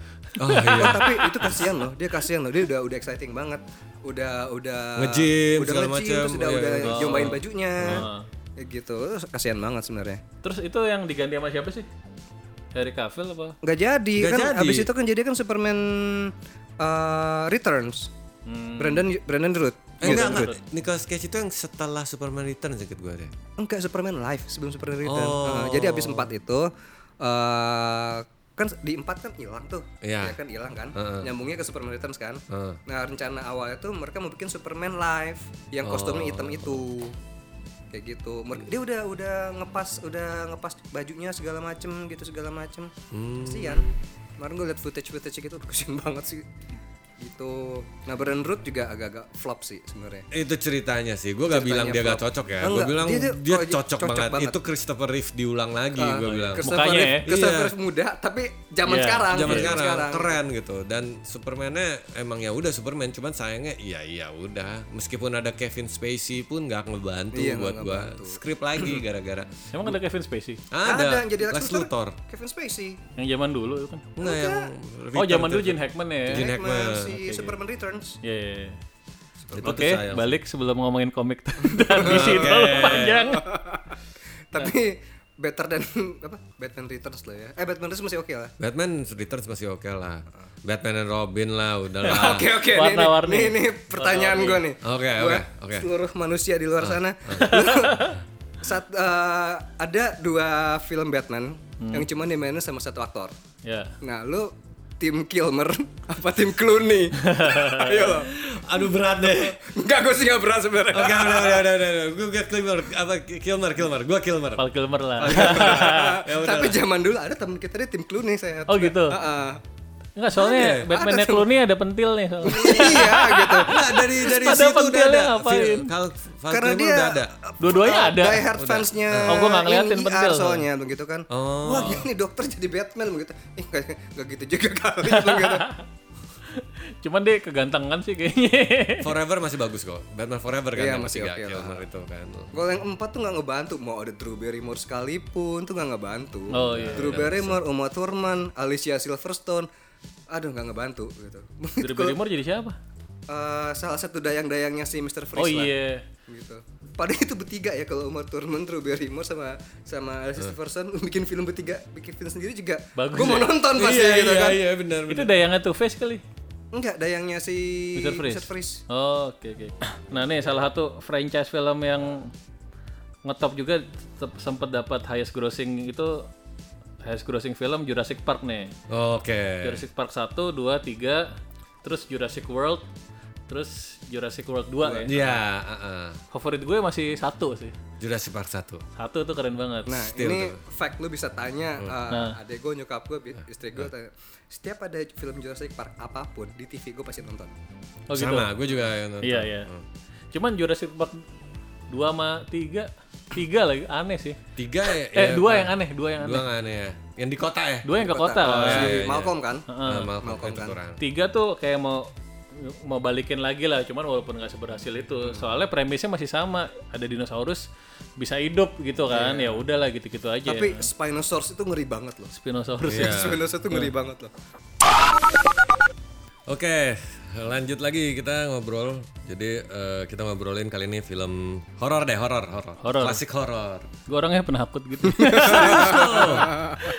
C: oh iya
B: Oh, tapi itu kasihan loh, dia kasihan loh, dia udah udah exciting banget, udah udah
C: Nge-gym,
B: udah
C: segala
B: nge-gym,
C: macem.
B: terus udah
C: Iya,
B: udah
C: iya. Oh.
B: nyobain bajunya, Ya gitu, Terus kasihan banget sebenarnya.
A: Terus itu yang diganti sama siapa sih? Harry Cavill apa?
B: Gak jadi
C: Nggak
B: kan,
C: jadi.
B: abis itu kan jadi kan Superman uh, Returns, Brandon Brandon Root,
C: Hmm. Eh, enggak, enggak. Nicolas Cage itu yang setelah Superman Returns ya gue deh.
B: Enggak Superman Live sebelum Superman Return.
C: Oh.
B: Nah, jadi abis empat itu eh kan di empat kan hilang tuh,
C: Iya.
B: Ya kan hilang kan, nyambungnya ke Superman Returns kan.
C: Heeh.
B: Nah rencana awalnya tuh mereka mau bikin Superman Live yang
C: Oh.
B: kostumnya hitam itu, kayak gitu. Mer- Dia udah udah ngepas udah ngepas bajunya segala macem gitu segala macem.
C: Hmm.
B: Kasian. Kemarin gue liat footage footage gitu, aduh, kasian banget sih gitu. Nah Brandon Root juga agak-agak flop sih sebenarnya.
C: Itu ceritanya sih. Gue gak bilang dia gak cocok ya. Gue
B: Enggak,
C: bilang
B: dia
C: dia,
B: tuh- oh, dia
C: cocok,
B: cocok
C: banget.
B: banget.
C: Itu Christopher Reeve diulang lagi
B: Ah,
C: gue Iya, bilang.
B: Christopher
A: Mukanya
B: Reeve-
A: ya?
B: Christopher
C: Iya.
B: Reeve muda tapi zaman
A: Iya,
B: sekarang.
C: Zaman
B: Iya,
C: sekarang, keren gitu. Dan Supermannya emang ya udah Superman, cuman sayangnya iya iya udah. Meskipun ada Kevin Spacey pun gak ngebantu
B: Iya, nggak
C: buat gue. Skrip lagi gara-gara.
A: Emang ada Kevin Spacey?
B: Ada,
C: Ada,
B: yang jadi Lex Luthor,
C: Luthor.
B: Kevin Spacey.
A: Yang zaman dulu itu kan.
C: Enggak yang
A: Oh,
C: Return
A: zaman
C: to
A: dulu Gene Hackman ya.
C: Gene
B: Batman,
C: Hackman.
B: si Superman Returns.
A: Iya. iya, iya.
C: Itu tuh
A: Oke,
C: sayang.
A: balik sebelum ngomongin komik tadi situ panjang.
B: tapi better than apa Batman Returns lah ya eh Batman Returns masih oke lah
C: Nah. Batman Returns masih oke lah. Batman and Robin lah udahlah.
B: Ah. oke oke ini-
A: Warna-warni.
B: ini, ini pertanyaan gue nih
C: Oke,
B: Gua
C: oke, oke. Ah,
B: seluruh manusia di luar sana Sat- eh, ada dua film Batman
C: Hmm.
B: yang cuma dimainin sama satu aktor
A: Ya.
B: nah lu tim Kilmer apa tim Clooney Iya ayo lo
C: Aduh berat deh.
B: Enggak, gue sih gak berat sebenarnya
C: Oke, udah, udah, udah, udah, udah. Gue Kilmer, apa Kilmer, Kilmer. Gue Kilmer.
A: Val Kilmer lah.
C: Ya udah.
B: tapi zaman dulu ada temen kita dia tim Clooney saya
A: Oh, gitu?
B: Heeh.
A: Enggak soalnya
C: Ada,
A: Batman-nya
B: ada tuh.
A: Clooney ada pentil nih soalnya.
B: iya gitu
C: Nah, dari dari
A: Pada
C: situ udah
A: pentilnya
C: ada.
A: ngapain?
C: Fil- Kalau Val
B: karena
C: Kilmer
B: dia
C: udah ada.
A: Dua-duanya
B: uh,
A: ada.
B: Die hard fansnya.
A: Oh, gua nggak ngeliatin
B: ini
A: pentil.
B: IR soalnya begitu kan.
C: Oh.
B: Wah, gini dokter jadi Batman begitu. Eh, nggak nggak gitu juga kali begitu.
A: Cuman dia kegantengan sih kayaknya.
C: Forever masih bagus kok. Batman Forever kan
B: Iya,
C: yang
B: masih
C: ketiga,
B: oke lah.
C: Kilmer itu kan.
B: Gol yang empat tuh nggak ngebantu mau ada Drew Barrymore sekalipun tuh nggak ngebantu.
A: Oh, iya,
B: Drew Barrymore, Uma Thurman, Alicia Silverstone, aduh nggak ngebantu gitu.
A: Drew Barrymore jadi siapa?
B: Eh, salah satu dayang-dayangnya si Mr.
A: Oh
B: Freeze lah.
A: iya.
B: gitu. Padahal itu bertiga ya kalau Uma Thurman, Drew Barrymore sama sama Alicia Silverstone bikin film bertiga, bikin film sendiri juga.
A: Bagus
B: Gue mau
A: ya.
B: nonton pasti
C: Iya,
B: gitu
C: iya,
B: kan.
C: iya, benar
A: Itu
C: benar.
A: dayangnya Two Face kali.
B: Enggak, dayangnya si
A: Mr. Freeze. Oh, oke oke. Nah nih salah satu franchise film yang ngetop juga tetep sempat dapat highest grossing itu highest grossing film Jurassic Park nih.
C: Oke.
A: Jurassic Park 1, 2, 3, terus Jurassic World, terus Jurassic World 2 ya.
C: Iya, heeh.
A: Favorit gue masih satu sih.
C: Jurassic Park 1.
A: Satu tuh keren banget.
B: Nah,
C: Still Nah.
B: ini fact lu bisa tanya uh, adek gue, nyokap gue, bi- istri gue tanya. Setiap ada film Jurassic Park apapun di TV gue pasti nonton.
A: oh gitu.
C: Sama, gue juga yang nonton.
A: Iya, iya. Cuman Jurassic Park 2 sama 3, 3 lagi aneh sih.
C: Tiga ya.
A: Eh,
C: ya,
A: dua yang aneh, dua yang
C: Dua
A: aneh.
C: nggak aneh ya. Yang di kota iya, ya.
A: Dua Ah. yang ke kota kan.
B: Si Malcolm kan?
C: Nah, Malcolm,
B: Malcolm
C: itu
B: kan.
C: kurang.
A: tiga tuh kayak mau mau balikin lagi lah cuman walaupun nggak seberhasil itu soalnya premisnya masih sama ada dinosaurus bisa hidup gitu kan ya udahlah gitu-gitu aja
B: Tapi Spinosaurus itu ngeri banget loh.
A: spinosaurus ya.
C: Iya.
B: Spinosaurus itu ngeri banget loh.
C: Oke, lanjut lagi kita ngobrol. Jadi eh, kita ngobrolin kali ini film horor deh, horor, horor.
A: Horor.
C: Klasik horor.
A: gue orangnya penakut gitu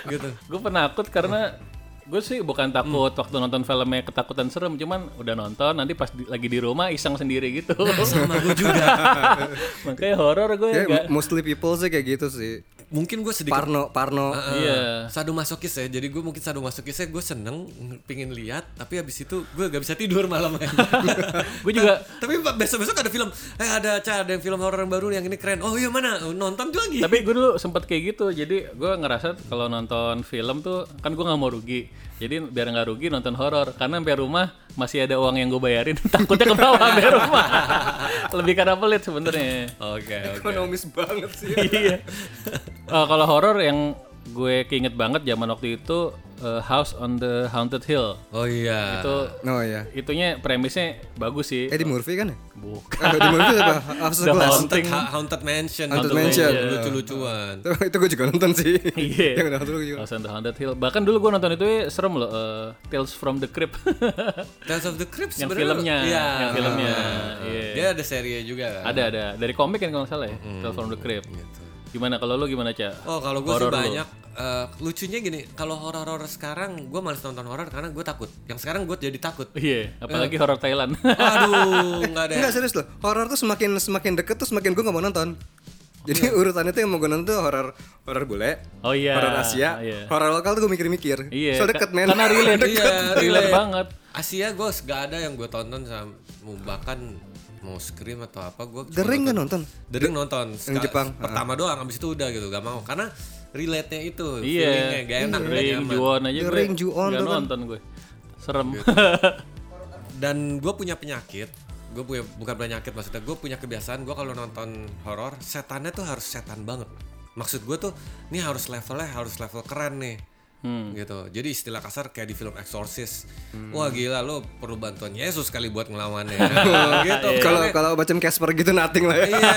C: gitu.
A: gue penakut karena gue sih bukan takut
C: Hmm.
A: waktu nonton filmnya ketakutan serem cuman udah nonton nanti pas di- lagi di rumah iseng sendiri gitu
C: Nah, Sama gue juga.
A: makanya horor
C: Iya,
A: gue
B: Ya,
A: enggak
B: mostly people sih kayak gitu sih.
C: Mungkin gue sedikit
B: Parno, Parno.
A: iya
C: sadomasokis ya. Jadi gue mungkin sadomasokisnya gue seneng pingin lihat, tapi habis itu gue gak bisa tidur malamnya.
A: gue juga
C: tapi besok-besok ada film, eh ada acara ada yang film horor yang baru yang ini keren. Oh iya mana? Nonton tuh lagi.
A: tapi gue dulu sempet kayak gitu jadi gue ngerasa kalau nonton film tuh kan gue nggak mau rugi jadi biar nggak rugi nonton horor karena sampai rumah masih ada uang yang gue bayarin takutnya ke bawah sampai rumah lebih karena pelit sebenarnya
C: Oke, oke.
B: Ekonomis banget sih.
A: iya Eh, kalau horor yang gue keinget banget zaman waktu itu eh, House on the Haunted Hill
C: Oh iya.
A: itu
B: Oh ya.
A: itunya premisnya bagus sih
B: Eddie Murphy kan ya?
A: Gitu. bukan
B: Ah, Eddie Murphy apa? House of
A: The
B: Glass.
A: Haunted
C: Haunted, Haunted Mansion.
B: Haunted
C: Itu
B: Mansion.
C: Lucu-lucuan.
B: Itu, itu gue juga nonton sih.
A: Iya.
B: Yang udah nonton gue juga.
A: House on the Haunted Hill bahkan dulu gue nonton itu eh, serem loh eh, Tales from the Crypt
C: Tales of the Crypt
A: yang
C: sebenarnya-
A: filmnya
C: Iya. Ah.
A: yang filmnya iya.
C: Dia ada serinya juga kan.
A: ada ada dari komik kan kalau nggak salah ya Tales from the Crypt gimana kalau lu gimana cak
C: Oh kalau gue sih banyak eh, lucunya gini kalau horor-horor sekarang gue males nonton horor karena gue takut. Yang sekarang gue jadi takut.
A: iya apalagi horor Thailand
C: Aduh nggak ada. ya.
B: Enggak serius loh. Horor tuh semakin semakin deket tuh semakin gue nggak mau nonton. Jadi urutannya tuh yang mau gue nonton tuh horor horor bule,
A: Iya. oh iya
B: horor Asia,
A: iya
B: horor lokal tuh gue mikir-mikir.
A: Iya,
B: So
A: ka-
B: deket men.
A: karena relate
C: Iya,
A: relate
C: relate.
A: banget
C: Asia gue nggak ada yang gue tonton sama mau bahkan mau scream atau apa gue.
B: The Ring nggak nonton?
C: The Ring nonton
B: yang
C: Seka-
B: Jepang. Ah.
C: pertama doang abis itu udah gitu gak mau karena relate-nya itu
A: iya
C: feelingnya gak enak nggak
A: ring
C: nyaman. Gitu.
A: juon aja
B: The
A: gue
B: Ring, Ju-on
A: nggak
B: tuh kan.
A: nonton gue serem
C: dan gue punya penyakit gue punya bukan penyakit maksudnya gue punya kebiasaan gue kalau nonton horor setannya tuh harus setan banget maksud gue tuh ini harus levelnya harus level keren nih
A: Hmm.
C: gitu jadi istilah kasar kayak di film Exorcist wah gila lo perlu bantuan Yesus kali buat ngelawannya
A: Iya,
C: gitu
B: Kalau
C: Karena-
B: kalau macam Casper gitu nothing lah ya.
C: iya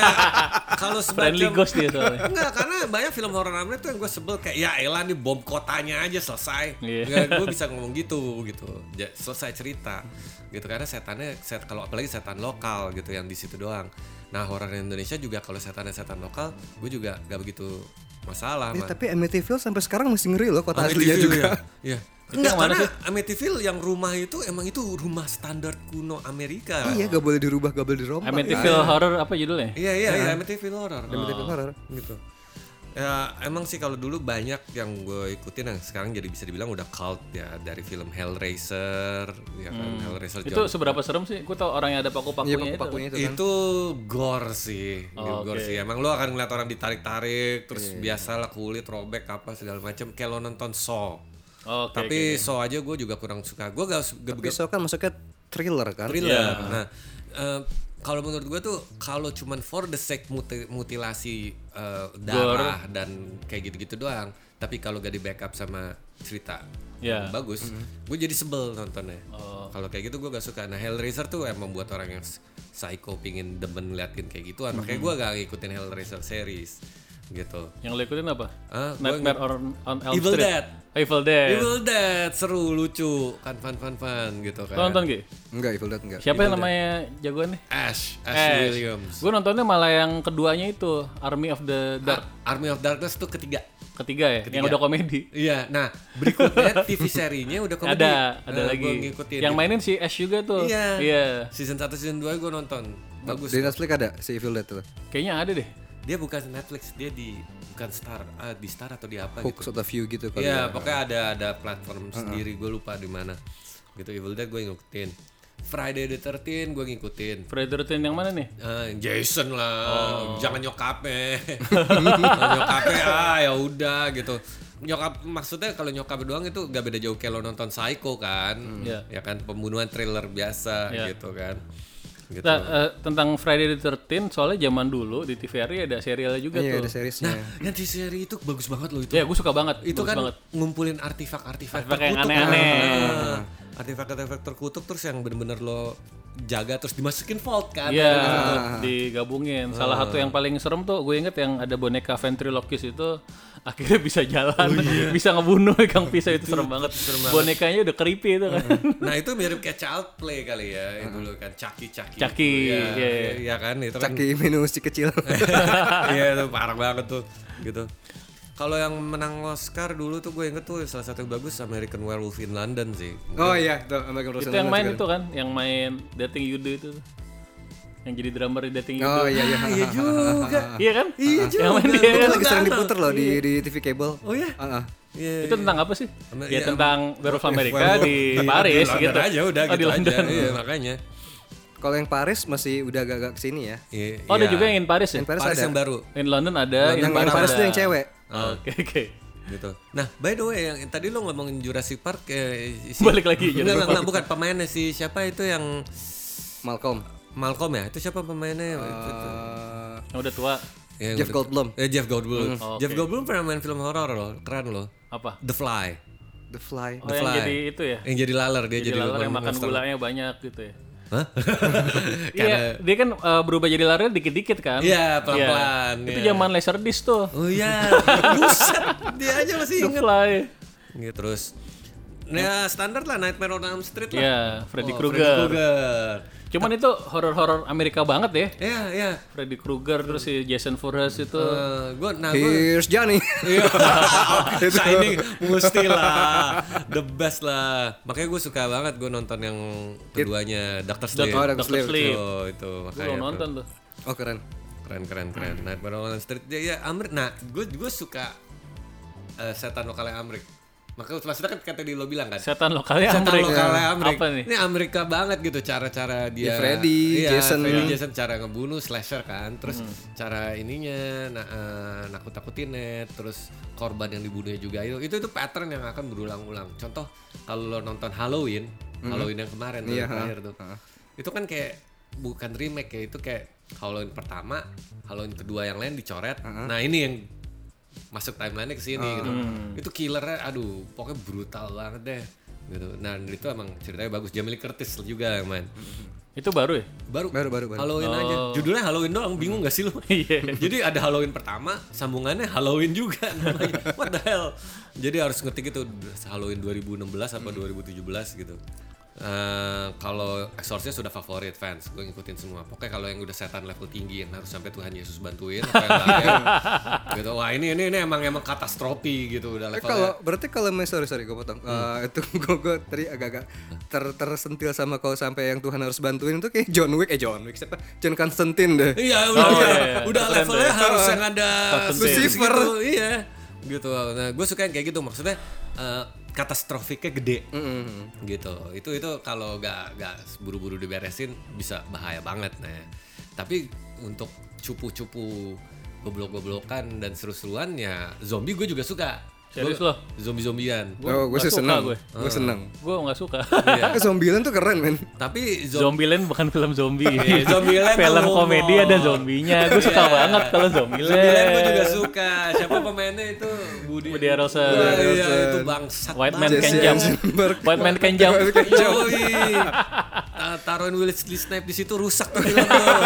C: kalau
A: friendly
C: semacam
A: ghost dia soalnya
C: Enggak, karena banyak film horor Amerika tuh yang gue sebel kayak ya elah nih bom kotanya aja selesai.
A: Iya.
C: gue bisa ngomong gitu gitu. Ja- selesai cerita. Gitu karena setannya set kalau apalagi setan lokal gitu yang di situ doang. Nah, horor Indonesia juga kalau setannya setan lokal, gue juga gak begitu masalah.
B: Ya,
C: Man.
B: tapi Amityville sampai sekarang masih ngeri loh kota aslinya
C: Amityville
B: juga.
C: Ya. Iya.
A: Itu
C: Enggak,
A: yang mana
C: karena Amityville yang rumah itu emang itu rumah standar kuno Amerika.
B: Iya, gak boleh dirubah, gak boleh dirombak.
A: Amityville Horror apa judulnya?
C: Iya iya iya Amityville horror.
B: Amityville horror.
C: gitu. Ya, emang sih kalau dulu banyak yang gue ikutin yang sekarang jadi bisa dibilang udah cult ya dari film Hellraiser, ya kan Hellraiser
A: Hmm. Itu
C: John-
A: seberapa serem sih? Gue tau orang yang ada
B: Iya,
A: paku-pakunya itu.
B: paku-pakunya itu kan.
C: itu gore sih,
A: Oh,
C: gore
A: oke. Iya,
C: sih. Emang lu akan ngeliat orang ditarik-tarik, terus biasalah kulit robek apa segala macam. Kayak lo nonton Saw.
A: Oke,
C: Tapi
A: oke.
C: Saw aja gue juga kurang suka. Gue gak, gak,
B: Tapi so kan masuknya thriller kan.
C: thriller. Nah, eh, kalau menurut gue tuh kalau cuman for the sake muti- mutilasi eh, darah dan kayak gitu-gitu doang, tapi kalau gak di backup sama cerita
A: Ya.
C: yang bagus, gue jadi sebel nontonnya. Kalau kayak gitu gue gak suka. Nah, Hellraiser tuh emang buat orang yang s- psycho pingin demen ngeliatin kayak gituan, makanya gue gak ngikutin Hellraiser series gitu.
A: Yang lo ikutin apa?
C: Ah, gua
A: Nightmare on, on Elm
C: Evil
A: Street.
C: Dead.
A: Oh, Evil Dead.
C: Evil Dead seru lucu kan fun fun fun gitu
A: Lo
C: kan.
A: nonton Gi?
B: Enggak, Evil Dead enggak.
A: Siapa yang namanya jagoannya?
C: Ash, Ash Williams.
A: Gue nontonnya malah yang keduanya itu Army of the Dark.
C: Army of Darkness tuh ketiga.
A: Ketiga ya, yang udah komedi.
C: Iya, nah berikutnya TV serinya udah komedi.
A: Ada, ada
C: Nah,
A: lagi.
C: gua ngikutin.
A: Yang mainin si Ash juga tuh.
C: Iya. Season 1 season 2 gue nonton. Bagus.
B: Di Netflix ada si Evil Dead tuh.
A: Kayaknya ada deh.
C: Dia bukan Netflix, dia di bukan Star, ah, di Star atau di apa
B: Hooks
C: gitu.
B: atau View gitu kan.
C: Iya, pokoknya ada ada platform sendiri, gue lupa di mana. Gitu Evil Dead gue ngikutin. Friday the 13 gue ngikutin.
A: Friday the 13 yang mana nih?
C: Eh, Jason lah, jangan nyokapnya. nyokapnya ah ya udah gitu. Nyokap maksudnya kalau nyokap doang itu gak beda jauh kayak lo nonton Psycho kan.
A: Iya.
C: Ya kan pembunuhan thriller biasa
A: Iya.
C: gitu kan. Gitu.
A: Nah, eh, tentang Friday the 13 soalnya zaman dulu di TVRI ada serialnya juga
B: Iya,
A: tuh.
B: ada seriesnya.
C: Yang di Nah, seri itu bagus banget loh itu.
A: Ya, gue suka banget.
C: itu
A: bagus
C: kan
A: banget.
C: ngumpulin artifak-artifak
A: Artifak yang Iya.
C: terkutuk.
A: aneh-aneh.
C: Ah, Artifak-artifak terkutuk terus yang bener-bener lo jaga terus dimasukin vault kan.
A: Iya, digabungin. Salah satu yang paling serem tuh gue inget yang ada boneka ventriloquist itu akhirnya bisa jalan, bisa ngebunuh Kang Pisau itu serem banget. Bonekanya udah creepy itu kan.
C: Nah itu mirip kayak child play kali ya yang dulu kan caki-caki.
A: Caki,
C: Iya
A: iya, iya.
C: iya kan itu kan.
B: Caki minus si kecil.
C: Iya itu parah banget tuh gitu. Kalau yang menang Oscar dulu tuh gue inget tuh salah satu yang bagus American Werewolf in London sih.
B: oh iya, tuh American Horror
A: itu
B: Story
A: yang main
B: juga.
A: itu kan, yang main Dating Yudo itu. tuh. Yang jadi drummer di Dating Yudo.
B: Oh iya iya.
C: Iya juga.
A: Iya kan?
C: Iya
A: Yang
C: juga.
A: main dia
B: Itu
A: kan?
B: lagi sering diputer loh di di TV kabel.
C: Oh iya.
B: Ah, ah.
C: Iya.
A: Itu tentang apa sih?
C: Amer-
A: Ya
C: iya,
A: tentang Werewolf Amerika
C: Werewolf.
A: di
C: Iya,
A: Paris
C: London
A: gitu.
C: aja udah
A: Oh,
C: gitu
A: di London.
C: aja. Iya makanya.
B: Kalau yang Paris masih udah agak-agak kesini ya.
C: Iya,
A: Oh, ada
C: iya.
A: juga yang in Paris ya?
B: Yang Paris,
C: Paris
B: ada. Oh.
C: yang baru Oh,
A: In London ada,
B: yang
A: in
B: yang Paris tuh
A: ada.
B: yang cewek.
A: Oke, oke.
C: gitu. Nah, by the way, yang tadi lo ngomongin Jurassic Park eh, si-
A: Balik lagi,
C: Enggak,
A: Jurassic
C: enggak, enggak, bukan pemainnya sih. Siapa itu yang
B: Malcolm.
C: Malcolm ya? Itu siapa pemainnya? Itu- itu.
B: Eh,
A: Yang udah tua
C: Ya,
B: Jeff
C: udah-
B: Goldblum.
C: Eh, Jeff Goldblum.
A: Oh,
C: Jeff
A: oke.
C: Goldblum pernah main film horor loh, keren loh.
A: apa?
C: The Fly.
B: The Fly.
A: Oh, yang
C: Fly.
A: jadi itu ya?
C: Yang jadi laler dia jadi,
A: jadi laler yang makan
C: monster.
A: gulanya banyak gitu ya.
C: Hah?
A: Iya, dia kan eh, berubah jadi laler dikit-dikit kan?
C: Iya, pelan-pelan,
A: Iya. Itu
C: iya.
A: zaman laserdisc tuh.
C: Oh iya. Buset, dia aja masih
A: The
C: ingat.
A: Fly.
C: Gitu terus. Nah, standar lah Nightmare on Elm Street lah.
A: Iya, Freddy
C: Oh, Freddy
A: Krueger.
C: Krueger.
A: Cuman itu horor-horor Amerika banget ya.
C: Iya, iya.
A: Freddy Krueger terus si Jason Voorhees itu.
C: Eh, gua nah gua
B: Here's Johnny.
A: Iya.
C: Shining mesti lah the best lah makanya gue suka banget gue nonton yang keduanya Dr. Sleep
B: Oh, Dr.
A: Dr. Sleep.
C: itu itu
A: Gue
C: makanya
A: belum
C: tuh.
A: nonton tuh.
B: Oh keren.
C: keren keren keren
A: Hmm.
C: Nightmare on Elm Street ya, ya Amrik nah gue gue suka eh, setan lokalnya Amrik makanya maksudnya kan kata di lo bilang kan
A: Setan lokalnya
C: setan
A: Amrik. ya. Iya.
C: lokalnya Amrik
A: Apa nih?
C: ini Amerika banget gitu cara-cara
B: Ya,
C: dia
B: Freddy,
C: Iya,
B: Jason.
C: Freddy Jason cara ngebunuh slasher kan terus cara ininya nah, eh, nakut-nakutinnya terus korban yang dibunuhnya juga itu itu itu pattern yang akan berulang-ulang contoh kalau lo nonton Halloween Halloween yang kemarin tuh, yang terakhir tuh itu kan kayak bukan remake ya itu kayak Halloween pertama Halloween kedua yang lain dicoret nah ini yang masuk timeline ke sini gitu. Itu killernya aduh pokoknya brutal banget deh gitu. Nah, itu emang ceritanya bagus. Jamie Lee Curtis juga yang main.
A: Itu baru ya?
C: Baru
B: Baru baru baru.
C: Halloween aja. Judulnya Halloween doang, bingung gak sih lu?
A: Iya.
C: Jadi ada Halloween pertama, sambungannya Halloween juga namanya. What the hell? Jadi harus ngetik itu Halloween 2016 apa 2017 gitu. eh, kalau Exorcist sudah favorit fans, gue ngikutin semua. Pokoknya kalau yang udah setan level tinggi yang harus sampai Tuhan Yesus bantuin, apa yang lain, gitu. Wah ini ini ini emang emang katastrofi gitu udah
B: Eh,
C: levelnya.
B: kalau berarti kalau mis- sorry sorry gue potong Eh,
A: Hmm.
B: itu gue gue tadi agak-agak ter tersentil sama kalau sampai yang Tuhan harus bantuin itu kayak John Wick eh John Wick siapa John Constantine deh
C: Iya, udah,
A: iya, iya.
C: udah
A: Keren tuh
C: levelnya
A: ya.
C: harus yang ada
A: Kapten
C: Lucifer,
B: Sin.
C: gitu, iya, gitu. Nah, gue suka yang kayak gitu maksudnya eh, katastrofiknya gede, gitu. Itu itu kalau gak gak buru-buru diberesin bisa bahaya banget, nah. Tapi untuk cupu-cupu goblok-goblokan dan seru-seruan ya zombie gue juga suka.
A: Serius
C: Gua-
A: lo?
C: Zombie-zombian.
B: oh gue
A: nggak
B: sih
A: suka
B: seneng
A: gue.
B: gue seneng
A: Gue nggak suka.
C: Iya.
B: Eh, Zombieland tuh keren men
C: Tapi zombie
A: Zombieland bukan film zombie.
C: Iya, Zombieland
A: film
C: humor.
A: komedi ada zombinya. Gue suka
C: Iya.
A: banget kalau Zombieland.
C: Zombieland gue juga suka. Siapa pemainnya itu? Budi.
A: Budi Harrelson.
C: Wah, Iya, itu bangsat.
A: Eh, White Man
C: banget. Iya,
A: Can
B: Jesse
A: Jump.
B: Eisenberg.
A: White Man Can Jump.
C: Yoi. Ah, Taruhin Wesley Snipes di situ rusak tuh film tuh.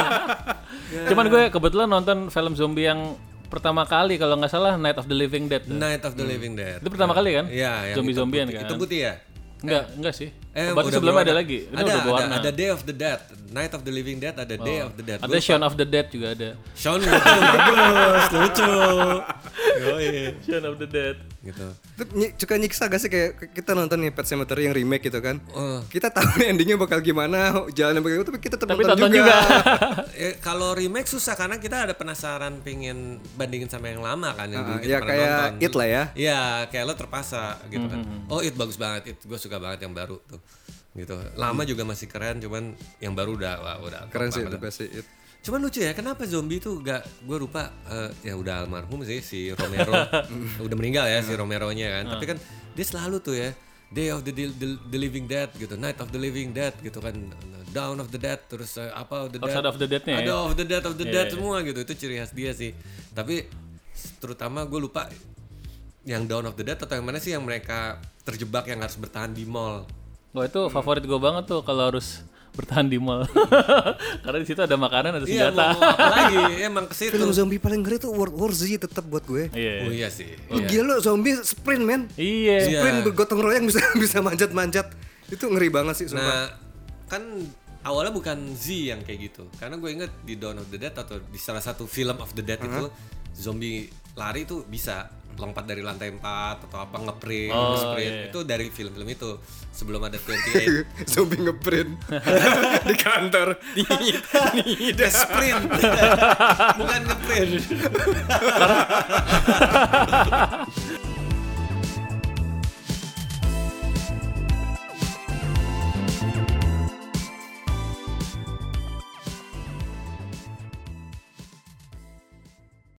A: Cuman gue kebetulan nonton film zombie yang pertama kali kalau nggak salah Night of the Living Dead. tuh.
C: Night of the Living Dead.
A: Itu pertama kali kan?
C: Iya, yang
A: Zombie-zombian
C: itu putih-
A: kan?
C: Itu putih ya?
A: Enggak, enggak sih. Berarti
C: Eh, udah
A: sebelumnya ada
C: berwarna.
A: lagi. Ini
C: ada,
A: udah
C: ada,
A: berwarna. Oh.
C: ada Day of the Dead, Night of the Living Dead, ada Day of the Dead.
A: Ada Shaun of the Dead juga ada.
C: Sean lucu, bagus, lucu. Yoi.
A: Shaun of the Dead.
C: Gitu.
B: Itu ny- suka nyiksa gak sih kayak kita nonton nih Pet Sematary yang remake gitu kan
C: Eh.
B: kita tahu endingnya bakal gimana jalannya bakal tapi kita tetap
A: Oh. Tapi tonton juga.
C: Eh, kalau remake susah karena kita ada penasaran pingin bandingin sama yang lama kan yang
B: Ah,
C: dulu kita
B: ya,
C: pernah
B: kayak
C: nonton.
B: It lah ya. Mm-hmm.
C: Iya, kayak lo terpaksa gitu kan. Oh, It bagus banget. It gue suka banget yang baru tuh. Gitu. Lama juga masih keren, cuman yang baru udah wah, udah
B: Iya. keren
C: top
B: sih
C: banget.
B: itu best sih It.
C: Cuman lucu ya, kenapa zombie tuh gak gue lupa eh, ya udah almarhum sih si Romero. udah meninggal ya
B: Iya.
C: si Romero-nya kan.
B: Ah.
C: Tapi kan dia selalu tuh ya Day of the, the, the Living Dead gitu, Night of the Living Dead gitu kan, Down of the Dead terus eh, apa of the Dead.
A: Shaun of the Dead-nya ya.
C: Ada of the dead of the
A: iya,
C: dead semua gitu. Itu ciri khas dia sih. Tapi s- terutama gue lupa yang Dawn of the Dead atau yang mana sih yang mereka terjebak yang harus bertahan di mall.
A: Wah itu favorit gue banget tuh kalau harus bertahan di mall. Karena di situ ada makanan, ada
C: Iya, mau,
A: senjata.
C: mau apa lagi? Iya, Emang ke situ.
B: film zombie paling ngeri tuh World War Z tetap buat gue
A: Iya.
C: Oh iya sih.
B: Lu gila lu zombie sprint men
A: Iya.
C: Iya.
B: sprint bergotong royong bisa bisa manjat-manjat itu ngeri banget sih sumpah
C: Nah, kan awalnya bukan Z yang kayak gitu. Karena gue inget di Dawn of the Dead atau di salah satu film of the Dead itu zombie lari tuh bisa lompat dari lantai 4 atau apa ngeprint,
A: Oh, iya.
C: sprint. Itu dari film-film itu sebelum ada 28
B: zombie ngeprint di kantor
A: Iya.
C: Dia sprint. Bukan ngeprint.